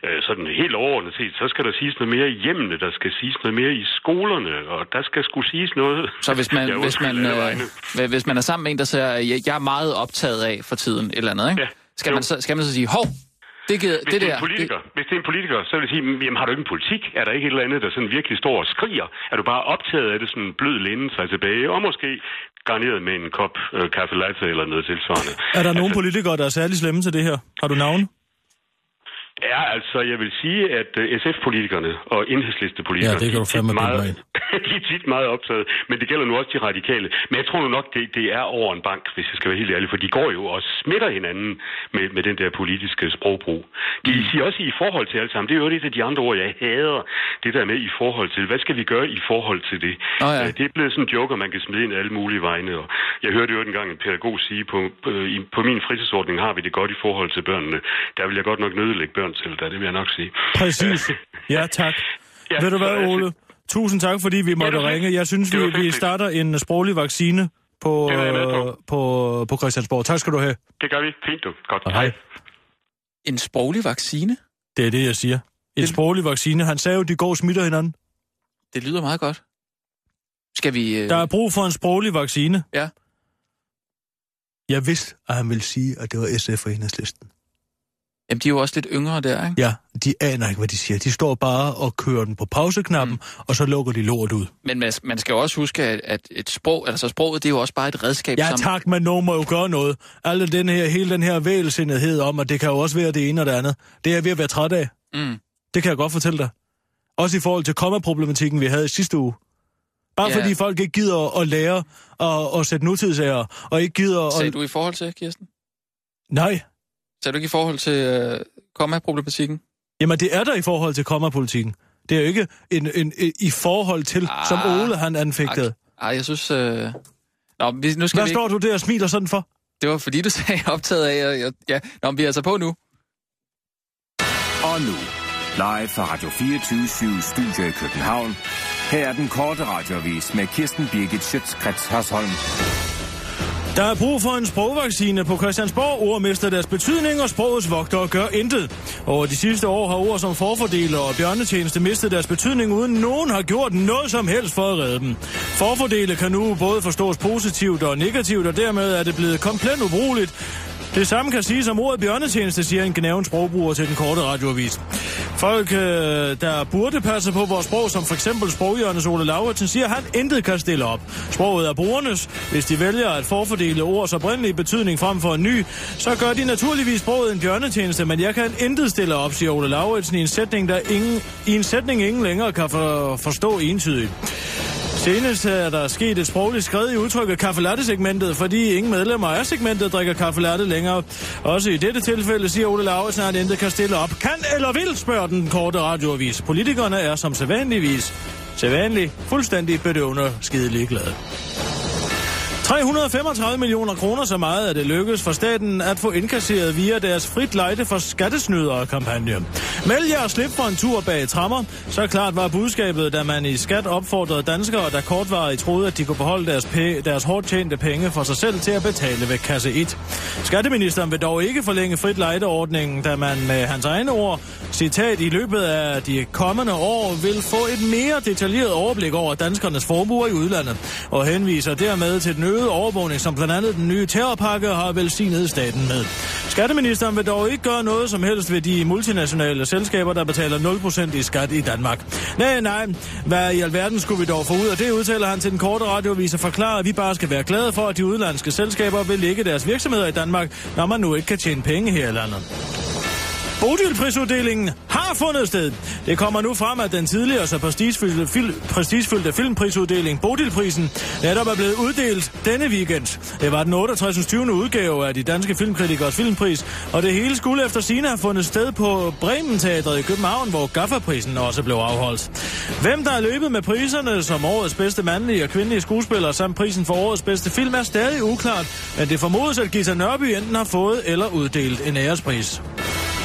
Speaker 8: øh, sådan helt overordnet set, så skal der siges noget mere i hjemmene, der skal siges noget mere i skolerne, og der skal skulle siges noget.
Speaker 4: Så hvis man,
Speaker 8: *laughs* Jeg
Speaker 4: hvis man,
Speaker 8: undskylder alle
Speaker 4: øh,
Speaker 8: vegne.
Speaker 4: hva- hvis man er sammen med en, der siger, jeg, jeg er meget optaget af for tiden, et eller andet, ikke?
Speaker 8: Ja.
Speaker 4: Skal,
Speaker 8: Jo.
Speaker 4: man så, skal man så sige, hov, det, gider,
Speaker 8: Hvis
Speaker 4: det
Speaker 8: det, er
Speaker 4: der,
Speaker 8: en politiker,
Speaker 4: det,
Speaker 8: det... hvis det er en politiker, så vil jeg sige, jamen har du ikke en politik? Er der ikke et eller andet, der sådan virkelig står og skriger? Er du bare optaget af det sådan en blød lænden sig tilbage, og måske garneret med en kop øh, kaffe latte eller noget tilsvarende?
Speaker 5: Er der nogen politikere, der er særlig slemme til det her? Har du navn?
Speaker 8: Ja, altså, jeg vil sige, at øh, SF-politikerne og
Speaker 5: Ja,
Speaker 8: enhedslistepolitikerne,
Speaker 5: det kan du
Speaker 8: de, er
Speaker 5: fandme
Speaker 8: tit
Speaker 5: bilde
Speaker 8: meget,
Speaker 5: mig ind.
Speaker 8: *laughs* de er tit meget optaget, men det gælder nu også de radikale. Men jeg tror nu nok, det, det er over en bank, hvis jeg skal være helt ærlig, for de går jo og smitter hinanden med, med den der politiske sprogbrug. De siger også i forhold til alt sammen, det er jo et af de andre ord, jeg hader, det der med i forhold til, hvad skal vi gøre i forhold til det?
Speaker 4: Nå ja.
Speaker 8: Øh, Det er blevet sådan en joker, man kan smide ind alle mulige vegne, og jeg hørte jo engang en pædagog sige, på, øh, i- på min fritidsordning har vi det godt i forhold til børnene. Der vil jeg godt nok nødelægge børn til, der, det vil jeg nok sige.
Speaker 5: Præcis. Ja, tak.
Speaker 8: Ja,
Speaker 5: Ved du
Speaker 8: så
Speaker 5: hvad,
Speaker 8: er det-
Speaker 5: Ole? Tusind tak, fordi vi måtte
Speaker 8: det var
Speaker 5: ringe.
Speaker 8: fedt.
Speaker 5: Jeg synes,
Speaker 8: Det var
Speaker 5: vi,
Speaker 8: fedt,
Speaker 5: vi
Speaker 8: det.
Speaker 5: starter en øh, sproglig vaccine på,
Speaker 8: Det var jeg med på.
Speaker 5: øh, på, på Christiansborg. Tak skal du have.
Speaker 8: *laughs* Det gør vi. Fint du. Godt.
Speaker 5: Og hej.
Speaker 4: en sproglig vaccine,
Speaker 5: Det er det, jeg siger. En
Speaker 4: Det-
Speaker 5: sproglig vaccine. Han sagde jo, de går og smitter hinanden.
Speaker 4: det lyder meget godt. Skal vi... Øh,
Speaker 5: Der er brug for en sproglig vaccine.
Speaker 4: Ja.
Speaker 5: Jeg vidste, at han ville sige, at det var SF og enhedslisten.
Speaker 4: Jamen, de er jo også lidt yngre der, ikke?
Speaker 5: Ja, de aner ikke, hvad de siger. De står bare og kører den på pauseknappen, mm. og så lukker de lort ud.
Speaker 4: Men man, man skal jo også huske, at, at et sprog, altså sproget, det er jo også bare et redskab,
Speaker 5: Ja
Speaker 4: som...
Speaker 5: tak, men nogen må jo gøre noget. Alle den her, hele den her vælsindhed om, at det kan jo også være det ene og det andet. Det er jeg ved at være træt af.
Speaker 4: Mm.
Speaker 5: Det kan jeg godt fortælle dig. Også i forhold til kommaproblematikken, vi havde i sidste uge. Bare
Speaker 4: Ja.
Speaker 5: ja. fordi folk ikke gider at lære og, og sætte nutidsager, og ikke gider
Speaker 4: Sagde
Speaker 5: at...
Speaker 4: du i forhold til, Kirsten?
Speaker 5: Nej,
Speaker 4: Sagde du ikke i forhold til øh, komma-problematikken?
Speaker 5: jamen det er der i forhold til kommapolitikken. Det er jo ikke en, en, en, i forhold til, ah, som
Speaker 4: Ah,
Speaker 5: Ole han anfægtede.
Speaker 4: Ej, jeg synes... Øh... Nå, vi, nu skal
Speaker 5: Hvad
Speaker 4: vi
Speaker 5: står
Speaker 4: ikke...
Speaker 5: du der og smiler sådan for?
Speaker 4: Det var fordi, du *laughs* sagde optaget af... og Jeg, ja, Nå, men vi er altså på nu.
Speaker 6: Og nu, live fra Radio 24 Studio i København. Her er den korte radiovis med Kirsten Birgit Schøtzgrads Hasholm.
Speaker 5: Der er brug for en sprogvaccine på Christiansborg. Ord mister deres betydning, og sprogets vogtere gør intet. Over de sidste år har ord som forfordeler og bjørnetjeneste mistet deres betydning, uden nogen har gjort noget som helst for at redde dem. Forfordele kan nu både forstås positivt og negativt, og dermed er det blevet komplet ubrugeligt. Det samme kan siges om ordet bjørnetjeneste, siger en gnaven sprogbruger til den korte radioavis. Folk, øh, der burde passe på vores sprog, som for eksempel sproghjørnes Ole Lauritsen, siger, at han intet kan stille op. Sproget er brugernes. Hvis de vælger at forfordele ords oprindelige betydning frem for en ny, så gør de naturligvis sproget en bjørnetjeneste, men jeg kan intet stille op, siger Ole Lauritsen i en sætning, der ingen, i en sætning ingen længere kan for, forstå entydigt. Senest er der sket et sprogligt skred i udtrykket kaffelatte-segmentet, fordi ingen medlemmer af segmentet drikker kaffelatte længere. Også i dette tilfælde siger Ole Lauritsen, at han intet kan stille op. Kan eller vil, spørger den korte radioavis. Politikerne er som sædvanligvis, sædvanlig, fuldstændig bedøvende skide ligeglade. 335 millioner kroner så meget er det lykkedes for staten at få indkasseret via deres frit lejde for skattesnydere-kampagne. Meld jer og slip for en tur bag trammer. Så klart var budskabet, da man i skat opfordrede danskere, der kortvarigt troede, at de kunne beholde deres, pe- deres hårdt tjente penge for sig selv til at betale ved kasse 1. Skatteministeren vil dog ikke forlænge frit lejdeordningen, da man med hans egne ord, citat, i løbet af de kommende år vil få et mere detaljeret overblik over danskernes formuer i udlandet, og henviser dermed til den øgede overvågning, som blandt andet den nye terrorpakke har velsignet staten med. Skatteministeren vil dog ikke gøre noget som helst ved de multinationale selskaber, der betaler 0% i skat i Danmark. Nej, nej, hvad i alverden skulle vi dog få ud af det, udtaler han til den korte radiovis og forklarer, at vi bare skal være glade for, at de udenlandske selskaber vil lægge deres virksomheder i Danmark, når man nu ikke kan tjene penge her i landet. Bodilprisuddelingen har fundet sted. Det kommer nu frem, at den tidligere så prestigefyldte, fil, prestigefyldte filmprisuddeling Bodilprisen netop er blevet uddelt denne weekend. Det var den 68. 20. udgave af de danske filmkritikers filmpris, og det hele skulle efter sine have fundet sted på Bremen Teatret i København, hvor Gaffaprisen også blev afholdt. Hvem der er løbet med priserne som årets bedste mandlige og kvindelige skuespiller samt prisen for årets bedste film er stadig uklart, men det formodes, at Gita Nørby enten har fået eller uddelt en ærespris.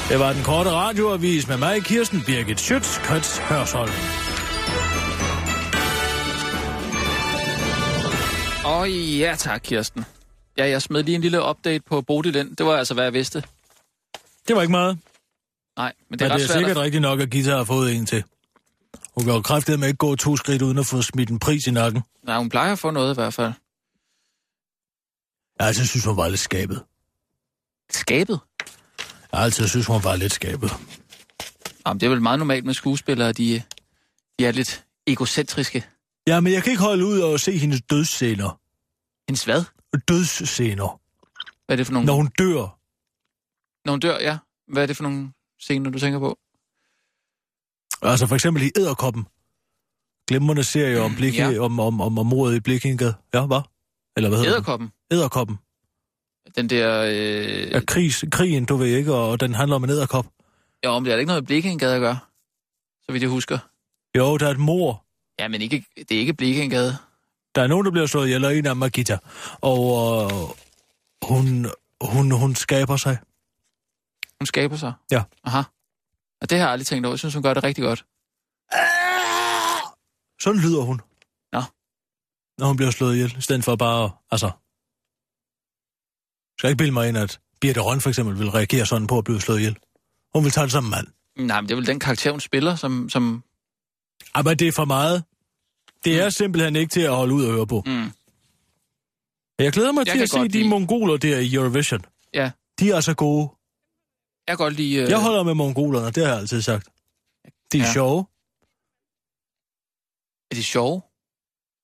Speaker 5: Det var den korte radioavis med mig, Kirsten Birgit Schøtz, Krets Hørsholm.
Speaker 4: Åh oh, ja tak, Kirsten. Ja, jeg smed lige en lille update på Bodil ind. Det var altså, hvad jeg vidste.
Speaker 5: Det var ikke meget,
Speaker 4: Nej, men det
Speaker 5: men
Speaker 4: er,
Speaker 5: det er,
Speaker 4: ret svært.
Speaker 5: sikkert rigtigt nok, at Gita har fået en til. Hun kan jo kraftedet med ikke gå to skridt uden at få smidt en pris i nakken.
Speaker 4: At... Nej, hun plejer at få noget i hvert fald.
Speaker 5: Jeg har altid synes, hun var lidt skabet.
Speaker 4: Skabet?
Speaker 5: Jeg har altid synes, hun var lidt skabet.
Speaker 4: Jamen, det er vel meget normalt med skuespillere, de, de er lidt egocentriske.
Speaker 5: Ja, men jeg kan ikke holde ud og se hendes dødsscener.
Speaker 4: Hendes hvad?
Speaker 5: Dødsscener.
Speaker 4: Hvad er det for nogle...
Speaker 5: Når hun dør.
Speaker 4: Når hun dør, ja. Hvad er det for nogle scener, du tænker på?
Speaker 5: Altså for eksempel i Æderkoppen. Glemrende serie om, blikke, ja.
Speaker 4: ja.
Speaker 5: om, om, om, om mordet i Blikkingad. Ja, hvad? Eller hvad hedder den?
Speaker 4: Æderkoppen.
Speaker 5: Æderkoppen.
Speaker 4: Den der... Øh...
Speaker 5: af krig, krigen, du ved ikke, og den handler om en æderkop.
Speaker 4: Jo, om det er da ikke noget med Blikindgade at gøre, så vidt jeg husker.
Speaker 5: Jo, der er et mor.
Speaker 4: Ja, men ikke, det er ikke Blikindgade.
Speaker 5: Der er nogen, der bliver slået ihjel, og en af dem er Gita. Og øh, hun, hun, hun skaber sig.
Speaker 4: Hun skaber sig.
Speaker 5: Ja.
Speaker 4: Aha. Og det har jeg aldrig tænkt over. Jeg synes, hun gør det rigtig godt.
Speaker 5: Sådan lyder hun.
Speaker 4: Nå.
Speaker 5: Når hun bliver slået ihjel, i stedet for bare at, altså... Jeg skal ikke bilde mig ind, at Birte Røn for eksempel vil reagere sådan på at blive slået ihjel. Hun vil tage det som en mand.
Speaker 4: Nej, men det er vel den karakter, hun spiller, som... som
Speaker 5: Ej, Ah, men det er for meget. Det er simpelthen ikke til at holde ud og høre på.
Speaker 4: mm,
Speaker 5: Jeg glæder mig
Speaker 4: Jeg
Speaker 5: til
Speaker 4: kan
Speaker 5: at se
Speaker 4: godt
Speaker 5: de
Speaker 4: lide-
Speaker 5: mongoler der i Eurovision.
Speaker 4: ja,
Speaker 5: De er så gode.
Speaker 4: jeg kan godt lide... Øh,
Speaker 5: Jeg holder med mongolerne, det har jeg altid sagt. De er ja.
Speaker 4: Ja.
Speaker 5: sjove.
Speaker 4: Er de sjove?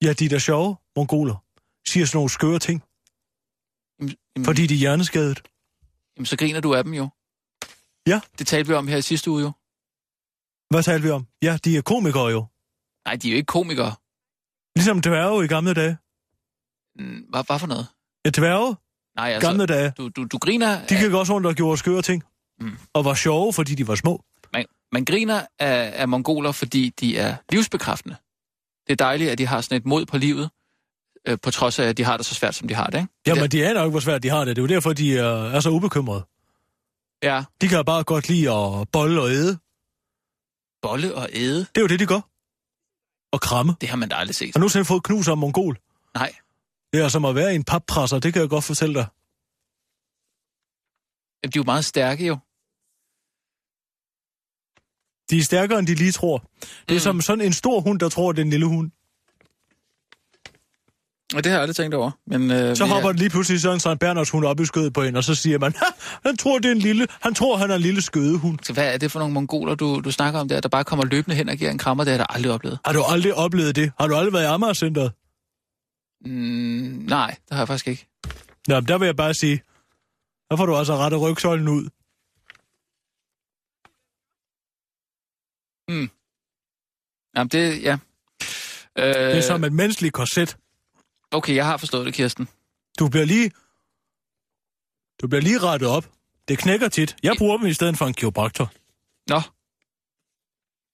Speaker 5: Ja, de er da sjove, mongoler. Siger sådan nogle skøre ting,
Speaker 4: Jamen, jamen,
Speaker 5: fordi de er hjerneskadet.
Speaker 4: jamen, så griner du af dem jo.
Speaker 5: Ja.
Speaker 4: Det talte vi om her i sidste uge jo.
Speaker 5: Hvad talte vi om? Ja, de er komikere jo.
Speaker 4: Nej, de er jo ikke komikere.
Speaker 5: Ligesom dværge i gamle dage.
Speaker 4: Mm, Hvad, hvad for noget?
Speaker 5: Ja, dværge
Speaker 4: Nej,
Speaker 5: altså,
Speaker 4: altså...
Speaker 5: gamle dage.
Speaker 4: Du, du, du griner...
Speaker 5: De
Speaker 4: af,
Speaker 5: gik også rundt og gjorde skøre ting.
Speaker 4: Mm.
Speaker 5: Og var sjove, fordi de var små.
Speaker 4: man, man griner af, af mongoler, fordi de er livsbekræftende. Det er dejligt, at de har sådan et mod på livet, øh, på trods af, at de har det så svært, som de har det, ikke?
Speaker 5: Jamen, de aner jo ikke, hvor svært de har det. Det er jo derfor, de er, er så ubekymrede.
Speaker 4: Ja,
Speaker 5: De kan bare godt lide at bolle og æde.
Speaker 4: bolle og æde.
Speaker 5: Det er jo det, de gør. og kramme.
Speaker 4: Det har man da aldrig set.
Speaker 5: Har du nogensinde fået knus om mongol?
Speaker 4: Nej.
Speaker 5: Det er som at være i en pappresser, det kan jeg godt fortælle dig.
Speaker 4: Jamen, De er jo meget stærke jo.
Speaker 5: De er stærkere, end de lige tror. Det er mm. som sådan en stor hund, der tror, det er en lille hund.
Speaker 4: Og det har jeg aldrig tænkt over. Men, øh,
Speaker 5: Så
Speaker 4: vi-
Speaker 5: hopper lige pludselig Søren Strand Berners hund op i skødet på en, og så siger man, "Ha, han tror, det er en lille, han tror, han er en lille skødehund.
Speaker 4: Så hvad er det for nogle mongoler, du, du snakker om der, der bare kommer løbende hen og giver en krammer? Det har jeg da aldrig oplevet.
Speaker 5: Har du aldrig oplevet det? Har du aldrig været i Amagercenteret?
Speaker 4: Mm, nej, det har jeg faktisk ikke.
Speaker 5: Nå, men der vil jeg bare sige, der får du altså rettet rygsøjlen ud.
Speaker 4: Jamen, det, ja. Øh,
Speaker 5: Det er som et menneskeligt korset.
Speaker 4: Okay, jeg har forstået det, Kirsten.
Speaker 5: Du bliver lige... Du bliver lige rettet op. Det knækker tit. Jeg bruger dem i stedet for en kiropraktor.
Speaker 4: Nå.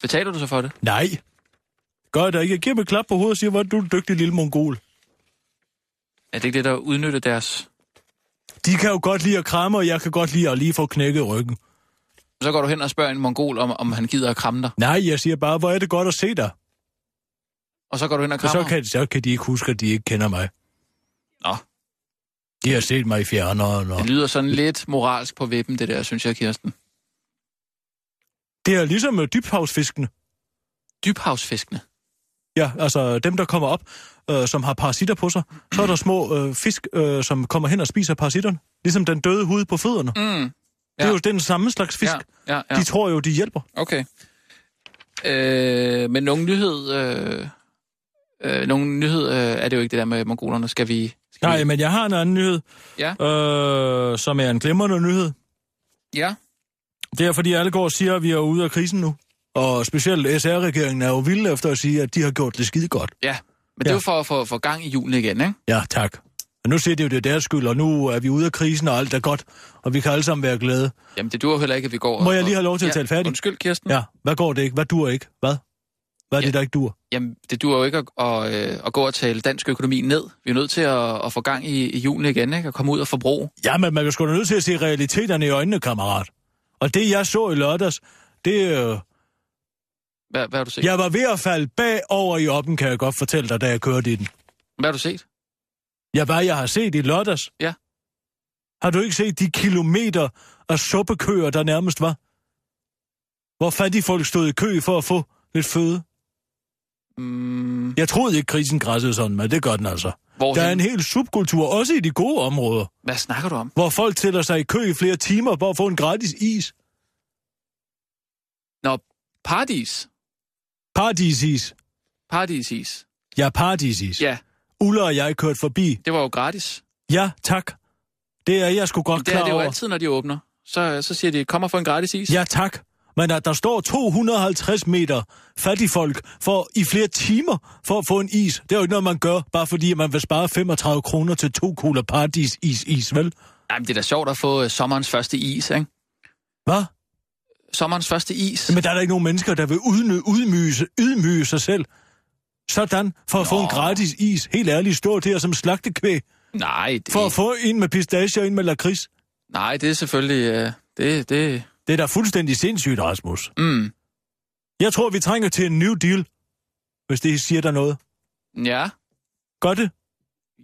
Speaker 4: Betaler du så for det?
Speaker 5: Nej. Gør jeg da ikke. Jeg giver dem et klap på hovedet og siger, hvor er du en dygtig lille mongol.
Speaker 4: Er det ikke det, der udnytter deres...
Speaker 5: De kan jo godt lide at kramme, og jeg kan godt lide at lige få knækket ryggen.
Speaker 4: Så går du hen og spørger en mongol, om, om han gider at kramme dig.
Speaker 5: Nej, jeg siger bare, hvor er det godt at se dig.
Speaker 4: Og så går du hen og
Speaker 5: Og
Speaker 4: krammer.
Speaker 5: så kan, så kan de ikke huske, at de ikke kender mig.
Speaker 4: Nå.
Speaker 5: De har set mig i fjerneren, og...
Speaker 4: Det lyder sådan lidt moralsk på vippen, det der, synes jeg, Kirsten.
Speaker 5: Det er ligesom med dybhavsfiskene.
Speaker 4: Dybhavsfiskene.
Speaker 5: Ja, altså dem, der kommer op, øh, som har parasitter på sig. Så er der små øh, fisk, øh, som kommer hen og spiser parasitterne. Ligesom den døde hud på fødderne. Ja.
Speaker 4: Mm,
Speaker 5: Det er jo den samme slags fisk. Ja.
Speaker 4: Ja, ja, ja.
Speaker 5: De tror jo, de hjælper.
Speaker 4: Okay. Øh, men nogen nyhed... Øh, øh, nogen nyhed øh, er det jo ikke det der med mongolerne. Skal vi... Skal
Speaker 5: Nej,
Speaker 4: vi...
Speaker 5: men jeg har en anden nyhed,
Speaker 4: Ja.
Speaker 5: øh, som er en glimrende nyhed.
Speaker 4: Ja.
Speaker 5: Det er, fordi alle går og siger, at vi er ude af krisen nu. Og specielt SR-regeringen er jo vilde efter at sige, at de har gjort det skide godt.
Speaker 4: Ja. Men det er
Speaker 5: Ja.
Speaker 4: jo for at få få gang i julen igen, ikke?
Speaker 5: Ja, tak. Og nu siger de jo, det er deres skyld, og nu er vi ude af krisen, og alt er godt, og vi kan alle sammen være glade.
Speaker 4: Jamen, det duer heller ikke, at vi går... og-
Speaker 5: Må jeg lige have lov til at
Speaker 4: ja,
Speaker 5: tale færdig?
Speaker 4: Undskyld, Kirsten.
Speaker 5: Ja, hvad går det ikke? Hvad dur ikke? Hvad? Hvad er ja.
Speaker 4: Ja.
Speaker 5: det, der ikke dur?
Speaker 4: Jamen, det duer jo ikke at, at, øh, at gå og tale dansk økonomi ned. Vi er nødt til at, at få gang i, i julen igen, ikke? Og komme ud og forbruge.
Speaker 5: Jamen, man er sgu da nødt til at se realiteterne i øjnene, kammerat. Og det, jeg så i lørdags, det... Øh,
Speaker 4: Hvad, hvad har du set?
Speaker 5: jeg var ved at falde bagover i oppen, kan jeg godt fortælle dig, da jeg kørte i den.
Speaker 4: Hvad har du set?
Speaker 5: Ja, hvad jeg har set i lørdags?
Speaker 4: Ja.
Speaker 5: Har du ikke set de kilometer af suppekøer, der nærmest var? Hvor fattige folk stod i kø for at få lidt føde.
Speaker 4: Mm,
Speaker 5: Jeg troede ikke, krisen græssede sådan, men det gør den altså.
Speaker 4: hvor
Speaker 5: Der er en hel subkultur, også i de gode områder,
Speaker 4: Hvad snakker du om?
Speaker 5: hvor folk tæller sig i kø i flere timer for at få en gratis is.
Speaker 4: Nå, paradis.
Speaker 5: Paradisis.
Speaker 4: Paradisis.
Speaker 5: Ja, paradisis.
Speaker 4: Ja,
Speaker 5: Ulla og jeg kørte forbi.
Speaker 4: det var jo gratis.
Speaker 5: Ja, tak. Det er jeg sgu godt
Speaker 4: Det er
Speaker 5: klar
Speaker 4: det jo
Speaker 5: over.
Speaker 4: altid, når de åbner. Så, så siger de, kom og få en gratis is.
Speaker 5: Ja, tak. Men at der står 250 meter fattigfolk for, i flere timer for at få en is, det er jo ikke noget, man gør, bare fordi man vil spare 35 kroner til to kugler paradis is, is vel?
Speaker 4: Jamen, det er da sjovt at få øh, sommerens første is, ikke?
Speaker 5: Hvad?
Speaker 4: Sommerens første is.
Speaker 5: Men der er da ikke nogen mennesker, der vil udny, udmyge, ydmyge sig selv. Sådan, for at Nå. få en gratis is. Helt ærligt, stå der som slagtekvæg.
Speaker 4: Nej, det,
Speaker 5: For at få en med pistache og en med lakrids.
Speaker 4: nej, det er selvfølgelig... Øh, det, det,
Speaker 5: Det er da fuldstændig sindssygt, Rasmus.
Speaker 4: mm,
Speaker 5: Jeg tror, vi trænger til en new deal, hvis det siger der noget.
Speaker 4: ja.
Speaker 5: Gør det?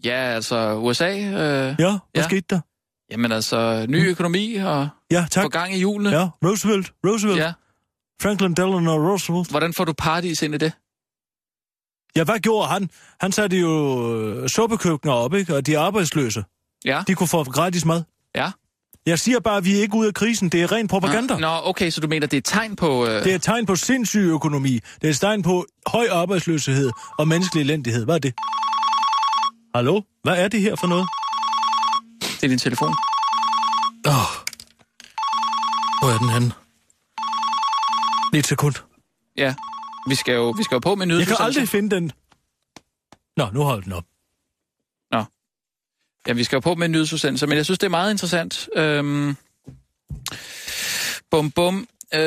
Speaker 4: ja, altså USA. Øh,
Speaker 5: Ja, hvad
Speaker 4: Ja.
Speaker 5: ja. skete der?
Speaker 4: jamen altså, ny økonomi og
Speaker 5: Ja, Mm. tak.
Speaker 4: få gang i julene.
Speaker 5: Ja, Roosevelt, Roosevelt, ja.
Speaker 4: ja.
Speaker 5: Franklin Delano Roosevelt.
Speaker 4: Hvordan får du paradis ind i det?
Speaker 5: Ja, hvad gjorde han? Han satte jo øh, suppekøkkener op, ikke? Og de arbejdsløse,
Speaker 4: Ja.
Speaker 5: de kunne få gratis mad.
Speaker 4: Ja.
Speaker 5: Jeg siger bare, at vi er ikke ude af krisen. Det er ren propaganda.
Speaker 4: Nå, nå, okay, så du mener, det er et tegn på... Øh,
Speaker 5: Det er et tegn på sindssyg økonomi. Det er et tegn på høj arbejdsløshed og menneskelig elendighed. Hvad er det? Hallo? Hvad er det her for noget?
Speaker 4: det er din telefon.
Speaker 5: Åh. Hvor er den henne? Lige et sekund.
Speaker 4: Ja. Vi skal jo, vi skal jo på med
Speaker 5: Jeg kan
Speaker 4: nyhedsudsendelser.
Speaker 5: aldrig finde den. Nå, nu holder den op.
Speaker 4: Ja, vi skal jo på med en nyhedsudsendelse, men jeg synes, det er meget interessant. Øhm, bum, bum. Øh,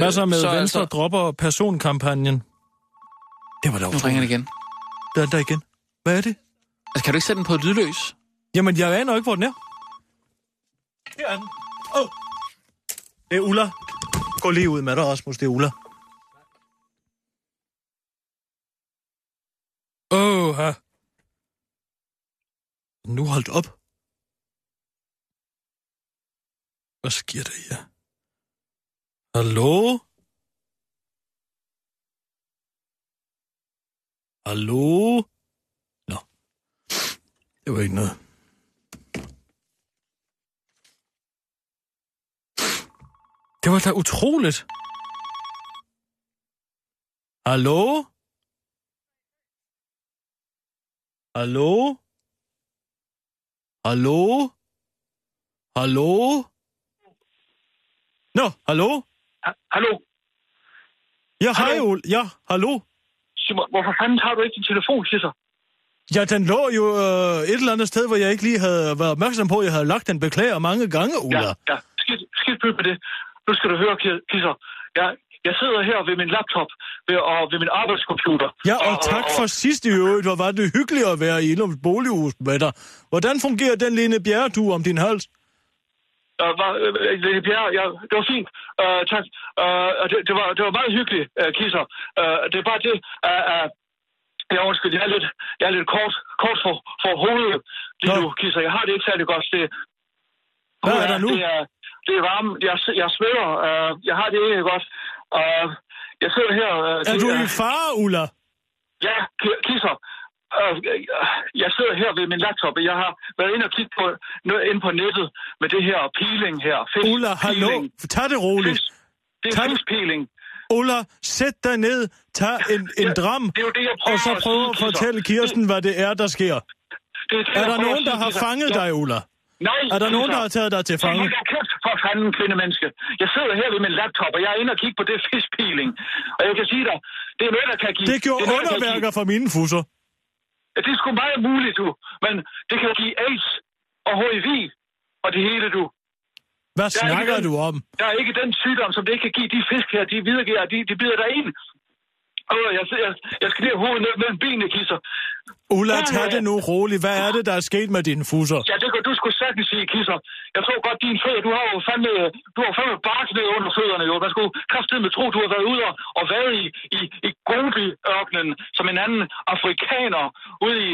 Speaker 5: Hvad så med så Venstre altså...
Speaker 4: altså-
Speaker 5: dropper personkampagnen? Det var da
Speaker 4: Nu ringer den igen.
Speaker 5: Der er den der igen. Hvad er det?
Speaker 4: Altså, kan du ikke sætte den på lydløs?
Speaker 5: Jamen, jeg aner ikke, hvor den er. Her er den. Oh. Det er Ulla. Gå lige ud med dig, Rasmus. Det er Ulla. Uha. Nu holdt op. Hvad sker der her? Hallo? Hallo? Nå. Det var ikke noget. Det var da utroligt. Hallo? Hallo? Hallo? Hallo? Nå, hallo?
Speaker 9: Ha- Hallo,
Speaker 5: Ja, hej,
Speaker 9: Hallo?
Speaker 5: Ole. Ja, hallo?
Speaker 9: Simon, hvorfor fanden tager du ikke din telefon til sig?
Speaker 5: Ja, den lå jo øh, et eller andet sted, hvor jeg ikke lige havde været opmærksom på, at jeg havde lagt den beklager mange gange, Ola.
Speaker 9: Ja, ja. Skidt, skidt pyt med det. Nu skal du høre, Ki- Kisser. Jeg, jeg sidder her ved min laptop ved, og ved min arbejdscomputer.
Speaker 5: Ja, og tak for sidst i øvrigt. Hvor var det hyggeligt at være i Ilums bolighus med dig. Hvordan fungerer den lille bjerredue om din hals?
Speaker 9: Øh, var, øh, øh, ja, ja, det var fint. Øh, tak. Øh, og det, det, var, det var meget hyggeligt, øh, Kisser. Øh, det er bare det, at... Øh, jeg undskyld, jeg er lidt, jeg er lidt kort, kort for, for hovedet lige
Speaker 5: Nå.
Speaker 9: nu, Kisser. Jeg har det ikke særlig godt. Det,
Speaker 5: Hvad er der nu?
Speaker 9: Det er, det er varme. Jeg, jeg sveder. Øh, jeg har det ikke godt. Øh, jeg sidder her... Øh,
Speaker 5: Er
Speaker 9: det
Speaker 5: du i fare, Ulla?
Speaker 9: Ja, Ki- kisser. Øh, øh, Jeg sidder her ved min laptop, og jeg har været inde og kigge på noget inde på nettet med det her peeling her. Fisk
Speaker 5: Ulla, hallo.
Speaker 9: peeling.
Speaker 5: Tag det roligt.
Speaker 9: Fisk- Det er
Speaker 5: Tak.
Speaker 9: fiskpeeling.
Speaker 5: Ulla, sæt dig ned. Tag en, en
Speaker 9: Ja,
Speaker 5: dram.
Speaker 9: det er jo det, jeg prøver
Speaker 5: Og så
Speaker 9: at
Speaker 5: prøv
Speaker 9: sige,
Speaker 5: at
Speaker 9: Kisser.
Speaker 5: fortælle Kirsten, hvad det er, der sker.
Speaker 9: Det det,
Speaker 5: Er
Speaker 9: jeg
Speaker 5: der
Speaker 9: prøver
Speaker 5: nogen,
Speaker 9: at sige,
Speaker 5: der har
Speaker 9: Kisser.
Speaker 5: fanget
Speaker 9: Ja.
Speaker 5: dig, Ulla?
Speaker 9: Nej,
Speaker 5: Er der nogen,
Speaker 9: Kisser.
Speaker 5: der har taget dig til fange?
Speaker 9: Jeg har kæft for fanden, kvindemenneske. Jeg sidder her ved min laptop, og jeg er inde og kigge på det fiskpeeling. Og jeg kan sige dig, det er noget, der kan give...
Speaker 5: Det gjorde
Speaker 9: er noget, der kan
Speaker 5: underværker for mine fusser.
Speaker 9: Ja, det er sgu meget muligt, du. Men det kan give AIDS og HIV og det hele, du.
Speaker 5: Hvad
Speaker 9: er ikke
Speaker 5: snakker
Speaker 9: den-
Speaker 5: du om?
Speaker 9: Der er ikke den sygdom, som det ikke kan give de fisk her. De videregiver, de, de bider dig ind. Åh, jeg, jeg, jeg skal lige have hovedet ned mellem benene, kisser.
Speaker 5: Ulla,
Speaker 9: Ja, ja,
Speaker 5: tag
Speaker 9: ja.
Speaker 5: det nu roligt. Hvad er det, der er sket med dine fusser?
Speaker 9: Ja, det kan du sgu sagtens sige, kisser. Jeg tror godt, din fødder, du har jo fandme, du har fandme bark ned under fødderne, jo. Man skulle kraftedeme tro, du har været ude og, og været i, i, i Gobi-ørkenen, som en anden afrikaner, ude i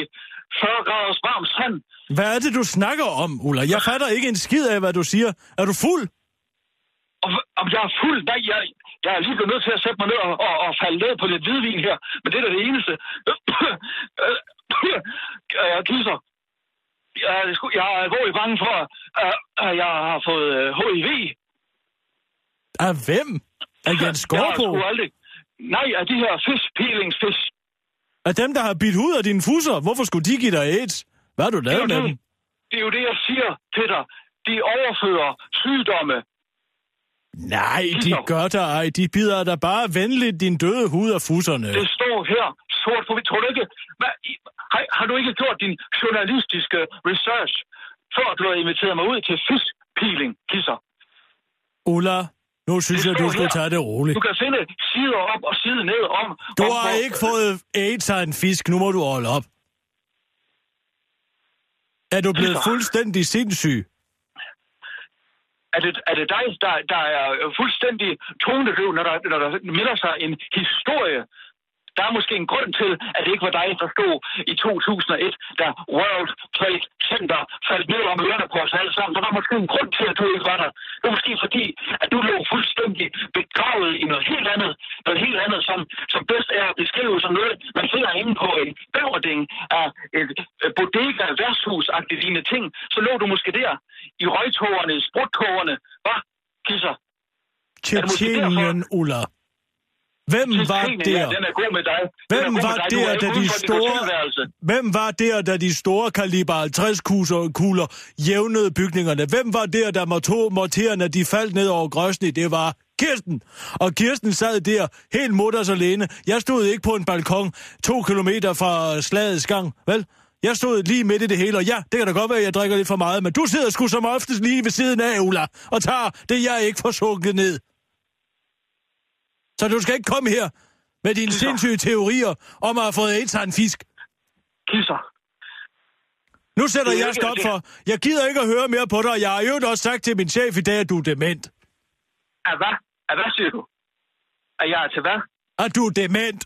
Speaker 9: 40 graders varm sand.
Speaker 5: Hvad er det, du snakker om, Ulla? Jeg fatter ikke en skid af, hvad du siger. Er du fuld?
Speaker 9: Om, om jeg er fuld? Nej, jeg, jeg er lige blevet nødt til at sætte mig ned og, og, og falde ned på lidt hvidvin her. Men det er da det eneste. *coughs* Øh, jeg kisser. Jeg er, sgu- jeg er alvorligt bange for, øh, at jeg har fået øh, HIV.
Speaker 5: Af hvem? Af Jens
Speaker 9: *laughs* Jeg har
Speaker 5: Gårdbo?
Speaker 9: sgu aldrig... Nej, af de her fiskpilingsfisk.
Speaker 5: Af dem, der har bidt hud af dine fusser? Hvorfor skulle de give dig AIDS? Hvad har du
Speaker 9: Det er,
Speaker 5: lavet
Speaker 9: jo
Speaker 5: med
Speaker 9: det,
Speaker 5: dem?
Speaker 9: det er jo det, jeg siger til dig. De overfører sygdomme.
Speaker 5: Nej, de
Speaker 9: Kisser.
Speaker 5: gør dig ej. De bider dig bare venligt din døde hud af fusserne.
Speaker 9: Det står her sort på hvidt. Tror du ikke? Hvad, i- har, har du ikke gjort din journalistiske research, før du har inviteret mig ud til fiskpiling, kisser?
Speaker 5: Ulla, nu synes
Speaker 9: Det
Speaker 5: jeg,
Speaker 9: står
Speaker 5: du skulle
Speaker 9: her.
Speaker 5: tage det roligt.
Speaker 9: Du kan finde sider op og side ned om...
Speaker 5: Du
Speaker 9: om,
Speaker 5: har
Speaker 9: hvor-
Speaker 5: ikke fået AIDS af en fisk. Nu må du holde op. Er du blevet
Speaker 9: Kisser.
Speaker 5: fuldstændig sindssyg?
Speaker 9: Er det, er det dig, der, der er fuldstændig tonedøv, når der, når der melder sig en historie? Der er måske en grund til, at det ikke var dig, der stod i 2001, da World Trade Center faldt ned om ørerne på os alle sammen. Der var måske en grund til, at du ikke var der. Det var måske fordi, at du lå fuldstændig begravet i noget helt andet. Noget helt andet, som, som bedst er at beskrive som noget, man finder inde på en bæverding af et øh, bodega, værtshus lignende ting. Så lå du måske der i røgtårerne, i sprutkogerne. Hvad, kisser? det måske
Speaker 5: Tjetjenien, Ulla. Hvem var
Speaker 9: Tjetjenien, ja,
Speaker 5: der?
Speaker 9: Den er god med dig. Den er
Speaker 5: Hvem
Speaker 9: god
Speaker 5: var
Speaker 9: med dig. Du er
Speaker 5: der,
Speaker 9: ikke
Speaker 5: da
Speaker 9: uden
Speaker 5: de
Speaker 9: for din hotelværelse.
Speaker 5: store... Hvem var der, da de store kaliber 50 kuser- kugler jævnede bygningerne? Hvem var der, da morto- mortererne de faldt ned over grøsne? Det var Kirsten. Og Kirsten sad der, helt mutters alene. Jeg stod ikke på en balkon to kilometer fra slagets gang, vel? Jeg stod lige midt i det hele, og ja, det kan da godt være, at jeg drikker lidt for meget, men du sidder sgu som oftest lige ved siden af, Ulla, og tager det, jeg ikke får sunket ned. Så du skal ikke komme her med dine sindssyge teorier om at have fået AIDS af en fisk.
Speaker 9: Kisser.
Speaker 5: Nu sætter
Speaker 9: Det er
Speaker 5: jeg
Speaker 9: ikke-
Speaker 5: stop
Speaker 9: det-
Speaker 5: for. Jeg gider ikke at høre mere på dig, og jeg har i øvrigt også sagt til min chef i dag, at du er dement.
Speaker 9: At hvad? At hvad siger du? At jeg er til hvad?
Speaker 5: At du er dement.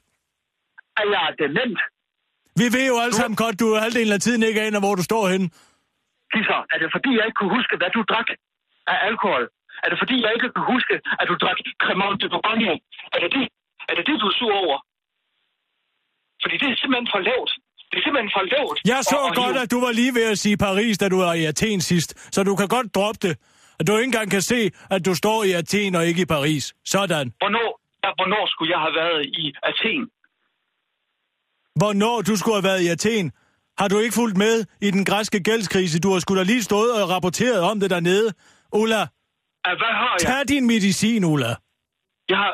Speaker 9: At jeg er dement.
Speaker 5: Vi ved jo alle sammen godt, du er halvdelen af tiden ikke aner, hvor du står henne.
Speaker 9: Kisser, er det fordi, jeg ikke kunne huske, hvad du drak af alkohol? Er det fordi, jeg ikke kunne huske, at du drak Cremant de Bourgogne? Er det det, er det, det du er sur over? Fordi det er simpelthen for lavt. Det er simpelthen for lavt.
Speaker 5: Jeg så
Speaker 9: at- at
Speaker 5: godt,
Speaker 9: hive-
Speaker 5: at du var lige ved at sige Paris, da du var i Athen sidst, så du kan godt droppe det. At du ikke engang kan se, at du står i Athen og ikke i Paris. Sådan.
Speaker 9: Hvornår, ja, hvornår skulle jeg have været i Athen?
Speaker 5: Hvornår du skulle have været i Athen? Har du ikke fulgt med i den græske gældskrise? Du har skulle da lige stået og rapporteret om det dernede. Ulla,
Speaker 9: Ah, Hvad har jeg?
Speaker 5: tag din medicin, Ulla.
Speaker 9: Jeg har,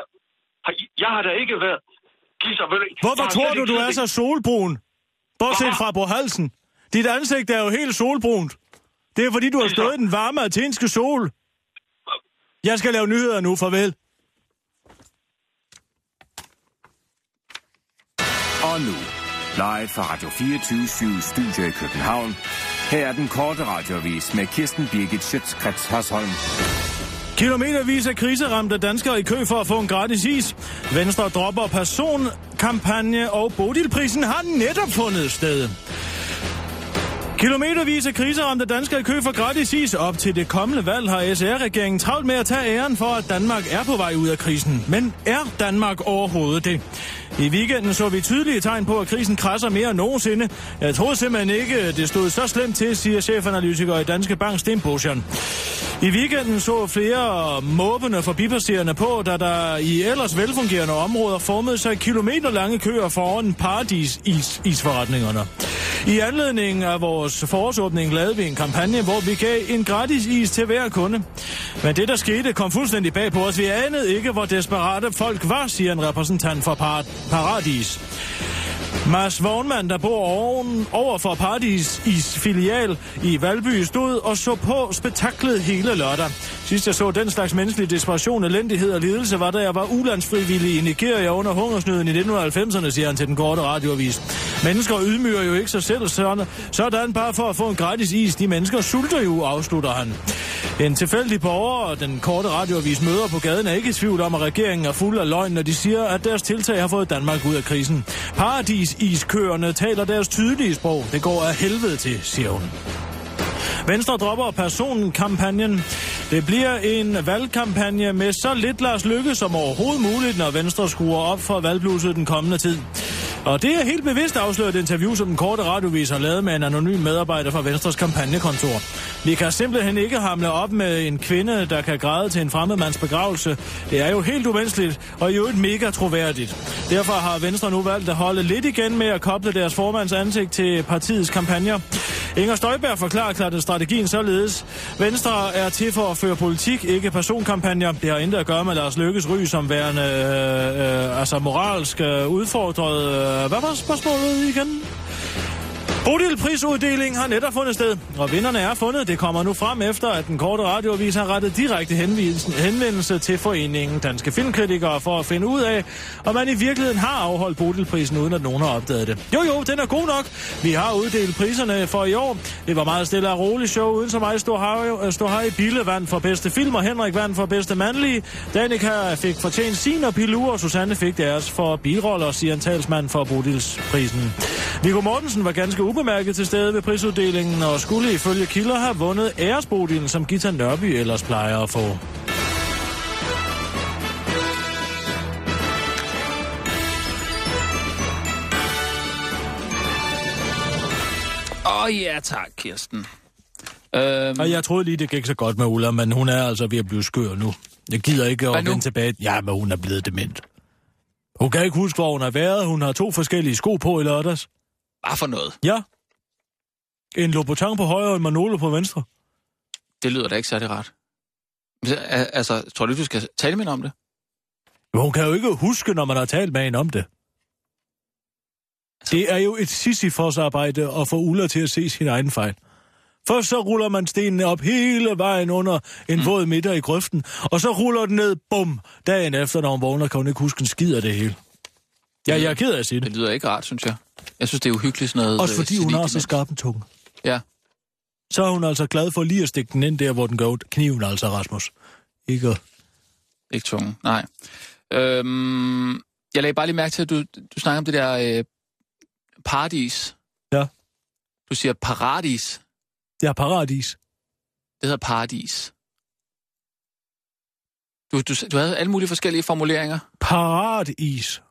Speaker 9: har, jeg har da ikke været... Kisser, ved du-
Speaker 5: Hvorfor
Speaker 9: jeg har
Speaker 5: tror
Speaker 9: slet
Speaker 5: du,
Speaker 9: ikke
Speaker 5: du
Speaker 9: tid
Speaker 5: er
Speaker 9: til-
Speaker 5: så solbrun? Bortset fra på halsen. Dit ansigt er jo helt solbrunt. Det er fordi, du har
Speaker 9: Det er
Speaker 5: stået
Speaker 9: så-
Speaker 5: i den varme athenske sol. Jeg skal lave nyheder nu, farvel.
Speaker 6: Og nu, live fra Radio 24 Studio i København. Her er den korte radiovis med Kirsten Birgit Schøtzgrads Hasholm.
Speaker 5: Kilometervis af kriseramte danskere i kø for at få en gratis is. Venstre dropper personkampagne, og Bodilprisen har netop fundet sted. Kilometervis af kriseramte danskere i kø for gratis is. Op til det kommende valg har SR-regeringen travlt med at tage æren for, at Danmark er på vej ud af krisen. Men er Danmark overhovedet det? I weekenden så vi tydelige tegn på, at krisen krasser mere end nogensinde. Jeg troede simpelthen ikke, det stod så slemt til, siger chefanalytiker i Danske Bank Sten Bocian. I weekenden så flere måbende forbipasserende på, da der i ellers velfungerende områder formede sig kilometerlange køer foran paradis-isforretningerne. I anledning af vores forårsåbning lavede vi en kampagne, hvor vi gav en gratis is til hver kunde. Men det, der skete, kom fuldstændig bag på os. Vi anede ikke, hvor desperate folk var, siger en repræsentant for Par- Paradis. Mads Vognmann, der bor oven, over for Paradis is filial i Valby, stod og så på spektaklet hele lørdag. Sidst jeg så den slags menneskelig desperation, elendighed og lidelse, var da jeg var ulandsfrivillig i Nigeria under hungersnøden i 1990'erne, siger han til den korte radioavis. Mennesker ydmyger jo ikke sig selv sådan, sådan bare for at få en gratis is. De mennesker sulter jo, afslutter han. En tilfældig borger og den korte radioavis møder på gaden er ikke i tvivl om, at regeringen er fuld af løgn, når de siger, at deres tiltag har fået Danmark ud af krisen. Paradisiskøerne taler deres tydelige sprog. Det går af helvede til, siger hun. Venstre dropper personkampagnen. Det bliver en valgkampagne med så lidt Lars Lykke som overhovedet muligt, når Venstre skruer op for valgbluset den kommende tid. Og det er helt bevidst afsløret et interview, som den korte radiovis har lavet med en anonym medarbejder fra Venstres kampagnekontor. Vi kan simpelthen ikke hamle op med en kvinde, der kan græde til en fremmedmands begravelse. Det er jo helt umenneskeligt, og i øvrigt mega troværdigt. Derfor har Venstre nu valgt at holde lidt igen med at koble deres formands ansigt til partiets kampagner. Inger Støjberg forklarer klart at strategien således. Venstre er til for at føre politik, ikke personkampagner. Det har intet at gøre med Lars Lykkes ry som værende øh, øh, altså moralsk øh, udfordret. Øh, hvad var spørgsmålet igen? Bodilprisuddelingen har netop fundet sted, og vinderne er fundet. Det kommer nu frem efter, at den korte radioavis har rettet direkte henvisen- henvendelse til foreningen Danske Filmkritikere for at finde ud af, om man i virkeligheden har afholdt Bodilprisen, uden at nogen har opdaget det. Jo jo, den er god nok. Vi har uddelt priserne for i år. Det var meget stille og roligt show, uden så meget stå her, stå her i Bille vandt for bedste film, og Henrik vandt for bedste mandlige. Danica fik fortjent sin, og Pilu og Susanne fik deres for biroller, siger en talsmand for Bodilsprisen. Viggo Mortensen var ganske ubemærket til stede ved prisuddelingen, og skulle ifølge kilder have vundet æresbodilen, som Gita Nørby ellers plejer at få.
Speaker 4: Åh oh, ja, tak, Kirsten. Øhm,
Speaker 5: Og jeg troede lige, det gik så godt med Ulla, men hun er altså ved at blive skør nu. Jeg gider ikke at
Speaker 4: Hvad nu?
Speaker 5: vende tilbage. Ja, men hun er blevet dement. Hun kan ikke huske, hvor hun har været. Hun har to forskellige sko på i lørdags.
Speaker 4: Bare for noget.
Speaker 5: Ja. En Louboutin på højre og en Manolo på venstre.
Speaker 4: Det lyder da ikke særlig rart. Men, al- Altså, tror du, du skal tale med hende om det?
Speaker 5: Men hun kan jo ikke huske, når man har talt med hende om det. Det er jo et Sisyfos-arbejde at få Ulla til at se sin egen fejl. Først så ruller man stenene op hele vejen under en mm. våd midter i grøften, og så ruller den ned, bum, dagen efter, når hun vågner, kan hun ikke huske en skid af det hele. Ja, jeg er ked af at sige
Speaker 4: Det
Speaker 5: det.
Speaker 4: lyder ikke rart, synes jeg. Jeg synes, det er uhyggeligt sådan noget.
Speaker 5: Også
Speaker 4: øh,
Speaker 5: fordi hun har så
Speaker 4: silikdemens.
Speaker 5: skarp en tunge.
Speaker 4: Ja.
Speaker 5: Så er hun altså glad for lige at stikke den ind der, hvor den går ondt. Kniven altså, Rasmus. Ikke at-
Speaker 4: Ikke tunge, nej. Øhm, jeg lagde bare lige mærke til, at du, du snakker om det der øh, Paradis.
Speaker 5: Ja.
Speaker 4: Du siger paradis.
Speaker 5: Ja, paradis.
Speaker 4: Det hedder paradis. Du, du, du havde alle mulige forskellige formuleringer.
Speaker 5: Paradis.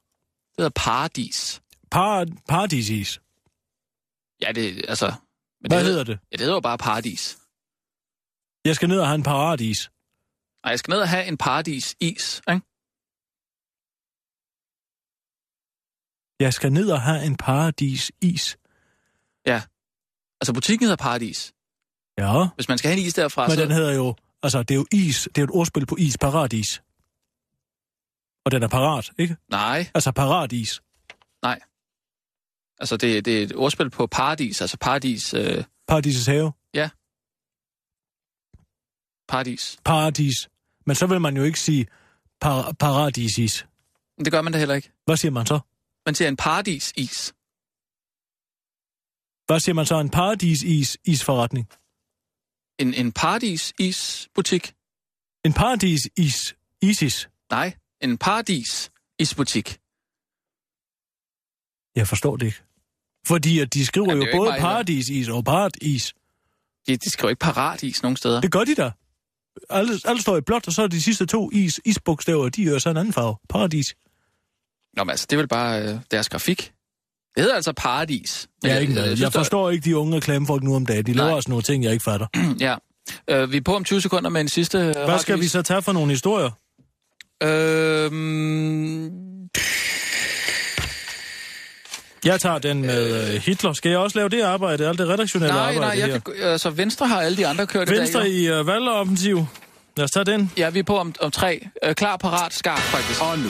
Speaker 4: Det hedder paradis.
Speaker 5: Par paradisis.
Speaker 4: Ja, det altså... Men
Speaker 5: Hvad hedder det?
Speaker 4: Ja, det hedder jo bare paradis.
Speaker 5: Jeg skal ned og have en paradis.
Speaker 4: Og jeg skal ned og have en paradis is, ikke?
Speaker 5: Jeg skal ned og have en paradis is.
Speaker 4: Altså, butikken hedder paradis.
Speaker 5: Ja,
Speaker 4: Hvis man skal have en is derfra,
Speaker 5: men
Speaker 4: så...
Speaker 5: den hedder jo... Altså, det er jo is. Det er jo et ordspil på is. Paradis. Og den er parat, ikke?
Speaker 4: Nej,
Speaker 5: Altså, paradis.
Speaker 4: altså, det, det er et ordspil på paradis. Altså, paradis... Øh,
Speaker 5: Paradisets have.
Speaker 4: paradis.
Speaker 5: Paradis. Men så vil man jo ikke sige par paradisis.
Speaker 4: Men det gør man da heller ikke.
Speaker 5: Hvad siger man så?
Speaker 4: Man siger en paradisis.
Speaker 5: Hvad siger man så? En paradisis isforretning.
Speaker 4: En, en paradisis-butik.
Speaker 5: En paradisis isis.
Speaker 4: Nej, en paradis-isbutik.
Speaker 5: Jeg forstår det ikke. Fordi at de skriver
Speaker 4: Jamen,
Speaker 5: Jamen,
Speaker 4: det er jo
Speaker 5: jo både
Speaker 4: ikke mig,
Speaker 5: paradisis og paradis.
Speaker 4: De, de skriver ikke paradis nogen steder.
Speaker 5: Det gør de da. Alle, alle står i blåt, og så er de sidste to is, isbogstaver, de er jo så en anden farve. Paradis.
Speaker 4: Nå, men altså, det er vel bare øh, deres grafik. Det hedder altså paradis. Men
Speaker 5: Ja, ikke
Speaker 4: øh,
Speaker 5: jeg,
Speaker 4: synes,
Speaker 5: jeg forstår ikke de unge reklamefolk nu om dagen. De laver
Speaker 4: Nej.
Speaker 5: også nogle ting, jeg ikke fatter.
Speaker 4: der- ja. Øh, vi er på om 20 sekunder med en sidste øh,
Speaker 5: Hvad skal vi
Speaker 4: radiovis.
Speaker 5: så tage for nogle historier?
Speaker 4: Øhm,
Speaker 5: Jeg tager den med øh, Hitler. Skal jeg også lave det arbejde, alt det redaktionelle
Speaker 4: nej,
Speaker 5: arbejde
Speaker 4: nej, jeg
Speaker 5: her?
Speaker 4: kan, gå- altså Venstre har alle de andre kørt i
Speaker 5: Venstre
Speaker 4: dag. jo.
Speaker 5: i øh, valgoffensiv. Lad os tage den.
Speaker 4: Ja, vi er på om, om tre. Øh, klar, parat, skarp faktisk.
Speaker 6: Og nu,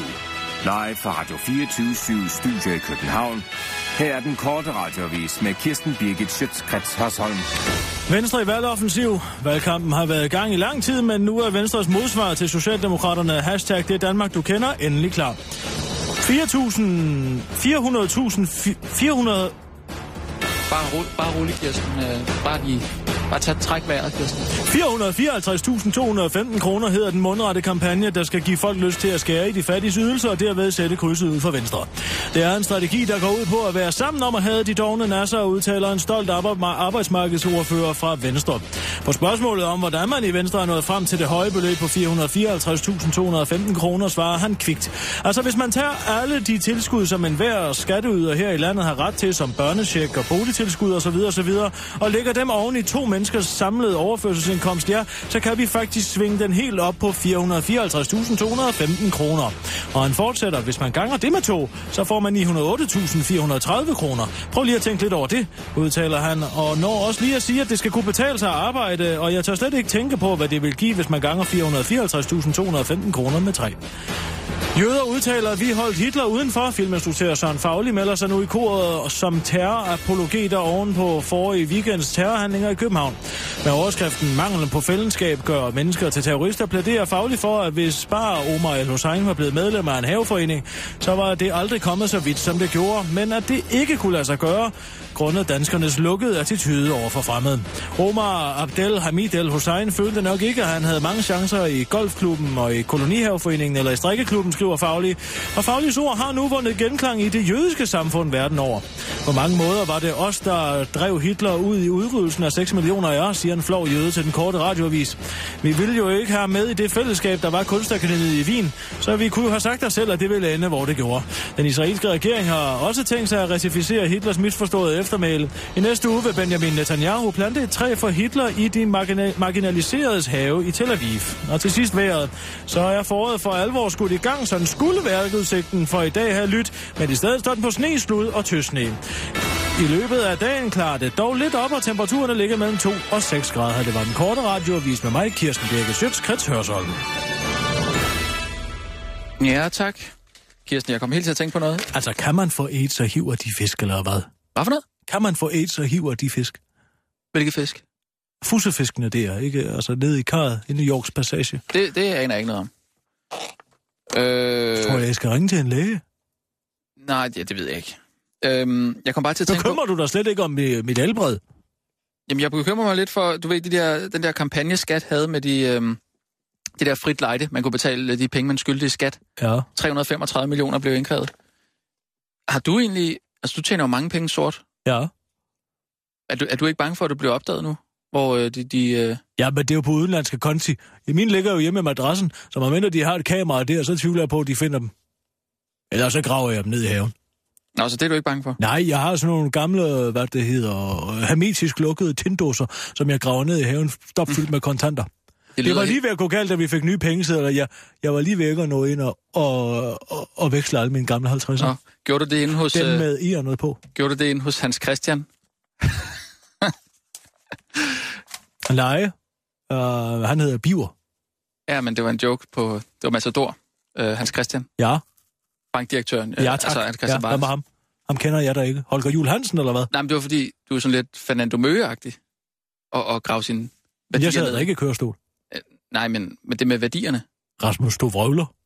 Speaker 6: live fra Radio 24 Studio i København. Her er den korte radiovis med Kirsten Birgit Schøtzgrads Hasholm.
Speaker 5: Venstre i valgoffensiv. Valgkampen har været i gang i lang tid, men nu er Venstres modsvar til Socialdemokraterne hashtag det Danmark du kender endelig klar. 4.000... 400.000... fi- 400...
Speaker 4: Bare, ro, bare rolig, Kirsten. Øh, bare lige... Bare tag træk vejret, Kirsten.
Speaker 5: 454.215 kroner hedder den mundrette kampagne, der skal give folk lyst til at skære i de fattiges ydelser og derved sætte krydset ud for venstre. Det er en strategi, der går ud på at være sammen om at have de dogne nasser, udtaler en stolt arbej- arbejdsmarkedsordfører fra Venstre. På spørgsmålet om, hvordan man i Venstre er nået frem til det høje beløb på 454.215 kroner, svarer han kvikt. Altså hvis man tager alle de tilskud, som enhver skatteyder her i landet har ret til, som børnecheck og boligtilskud osv. osv., og lægger dem oven i to menneskers samlede overførselsindkomst, ja, så kan vi faktisk svinge den helt op på 454.215 kroner. Og han fortsætter, hvis man ganger det med to, så får man 908.430 kroner. Prøv lige at tænke lidt over det, udtaler han, og når også lige at sige, at det skal kunne betale sig at arbejde, og jeg tør slet ikke tænke på, hvad det vil give, hvis man ganger 454.215 kroner med tre. Jøder udtaler, at vi holdt Hitler udenfor. Filminstruktør Søren Fagli melder sig nu i koret som terrorapologeter oven på forrige weekends terrorhandlinger i København. Med overskriften Manglen på fællesskab gør mennesker til terrorister, plæderer Fagli for, at hvis bare Omar el Hussein var blevet medlem af en haveforening, så var det aldrig kommet så vidt, som det gjorde, men at det ikke kunne lade sig gøre, grundet danskernes lukkede attitude over for fremmede. Omar Abdel Hamid El Hussein følte nok ikke, at han havde mange chancer i golfklubben og i kolonihaveforeningen eller i strikkeklubben, skriver Faglig. Og Faglis ord har nu vundet genklang i det jødiske samfund verden over. På mange måder var det os, der drev Hitler ud i udryddelsen af 6 millioner af jer, siger en flov jøde til den korte radioavis. Vi ville jo ikke have med i det fællesskab, der var kunstakademiet i Wien, så vi kunne jo have sagt os selv, at det ville ende, hvor det gjorde. Den israelske regering har også tænkt sig at ratificere Hitlers misforståede eftermæle. I næste uge vil Benjamin Netanyahu plante et træ for Hitler i de margina- marginaliseredes have i Tel Aviv. Og til sidst vejret. Så er foråret for alvor skudt i gang, sådan skulle vejrudsigten for i dag have lyttet, men i stedet står den på sne, slud og tøsne. I løbet af dagen klarer det dog lidt op, og temperaturen ligger mellem 2 og 6 grader. Det var den korte radioavis med mig, Kirsten Birke Sjøts, Krets Hørsholm.
Speaker 4: Ja, tak. Kirsten, jeg kom helt til at tænke på noget.
Speaker 5: Altså, kan man få AIDS og hiver de fisk, eller hvad?
Speaker 4: Hvad for noget?
Speaker 5: Kan man få AIDS og hiver de fisk?
Speaker 4: Hvilke fisk?
Speaker 5: Fussefiskene der, ikke? Altså, nede i karret i New Yorks passage. Øh...
Speaker 4: Det, det aner jeg ikke noget om.
Speaker 5: Tror
Speaker 4: Øh,
Speaker 5: jeg, jeg skal ringe til en læge?
Speaker 4: nej, det, det ved jeg ikke. Øhm, jeg kom bare til at tænke på...
Speaker 5: Bekymrer du dig slet ikke om øh, mit helbred?
Speaker 4: Jamen, jeg bekymrer mig lidt for, du ved, de der, den der kampagne skat havde med de, øhm, det der frit lejde. Man kunne betale de penge, man skyldte i skat.
Speaker 5: Ja.
Speaker 4: 335 millioner blev indkrævet. Har du egentlig, Altså, du tjener jo mange penge sort.
Speaker 5: Ja.
Speaker 4: Er du, er du ikke bange for, at du bliver opdaget nu? Hvor øh, de... de øh...
Speaker 5: Ja, men det er jo på udenlandske konti. Min ligger jo hjemme med madrassen, så man venter, de har et kamera der, så tvivler jeg på, at de finder dem. Eller så graver jeg dem ned i haven.
Speaker 4: Nå, så det er du ikke bange for?
Speaker 5: Nej, jeg har sådan nogle gamle, hvad det hedder, øh, hermetisk lukkede tindåser, som jeg graver ned i haven, stopfyldt med kontanter. Det var lige ved at gå galt, da vi fik nye pengesedler. Jeg, jeg var lige ved ikke at nå ind og, og, og, og veksle alle mine gamle 50'er.
Speaker 4: Nå, gjorde du det inde hos,
Speaker 5: Den
Speaker 4: øh,
Speaker 5: med i og noget på.
Speaker 4: gjorde du det inde hos Hans Christian?
Speaker 5: Leje. Uh, han hedder Biver.
Speaker 4: Ja, men det var en joke på... Det var Massador. Øh, Hans Christian.
Speaker 5: Ja,
Speaker 4: Bankdirektøren. øh,
Speaker 5: ja tak.
Speaker 4: Altså, Hans
Speaker 5: ja,
Speaker 4: Christian
Speaker 5: hvad med
Speaker 4: ja,
Speaker 5: ham? Ham kender jeg da ikke. Holger Jul Hansen, eller hvad?
Speaker 4: Nej, men det var fordi, du er sådan lidt Fernando Møge-agtig. Og, og grave sine værdier
Speaker 5: Jeg sad
Speaker 4: ned.
Speaker 5: da ikke i kørestol.
Speaker 4: Nej, men, men det med værdierne.
Speaker 5: Rasmus, du vrøvler.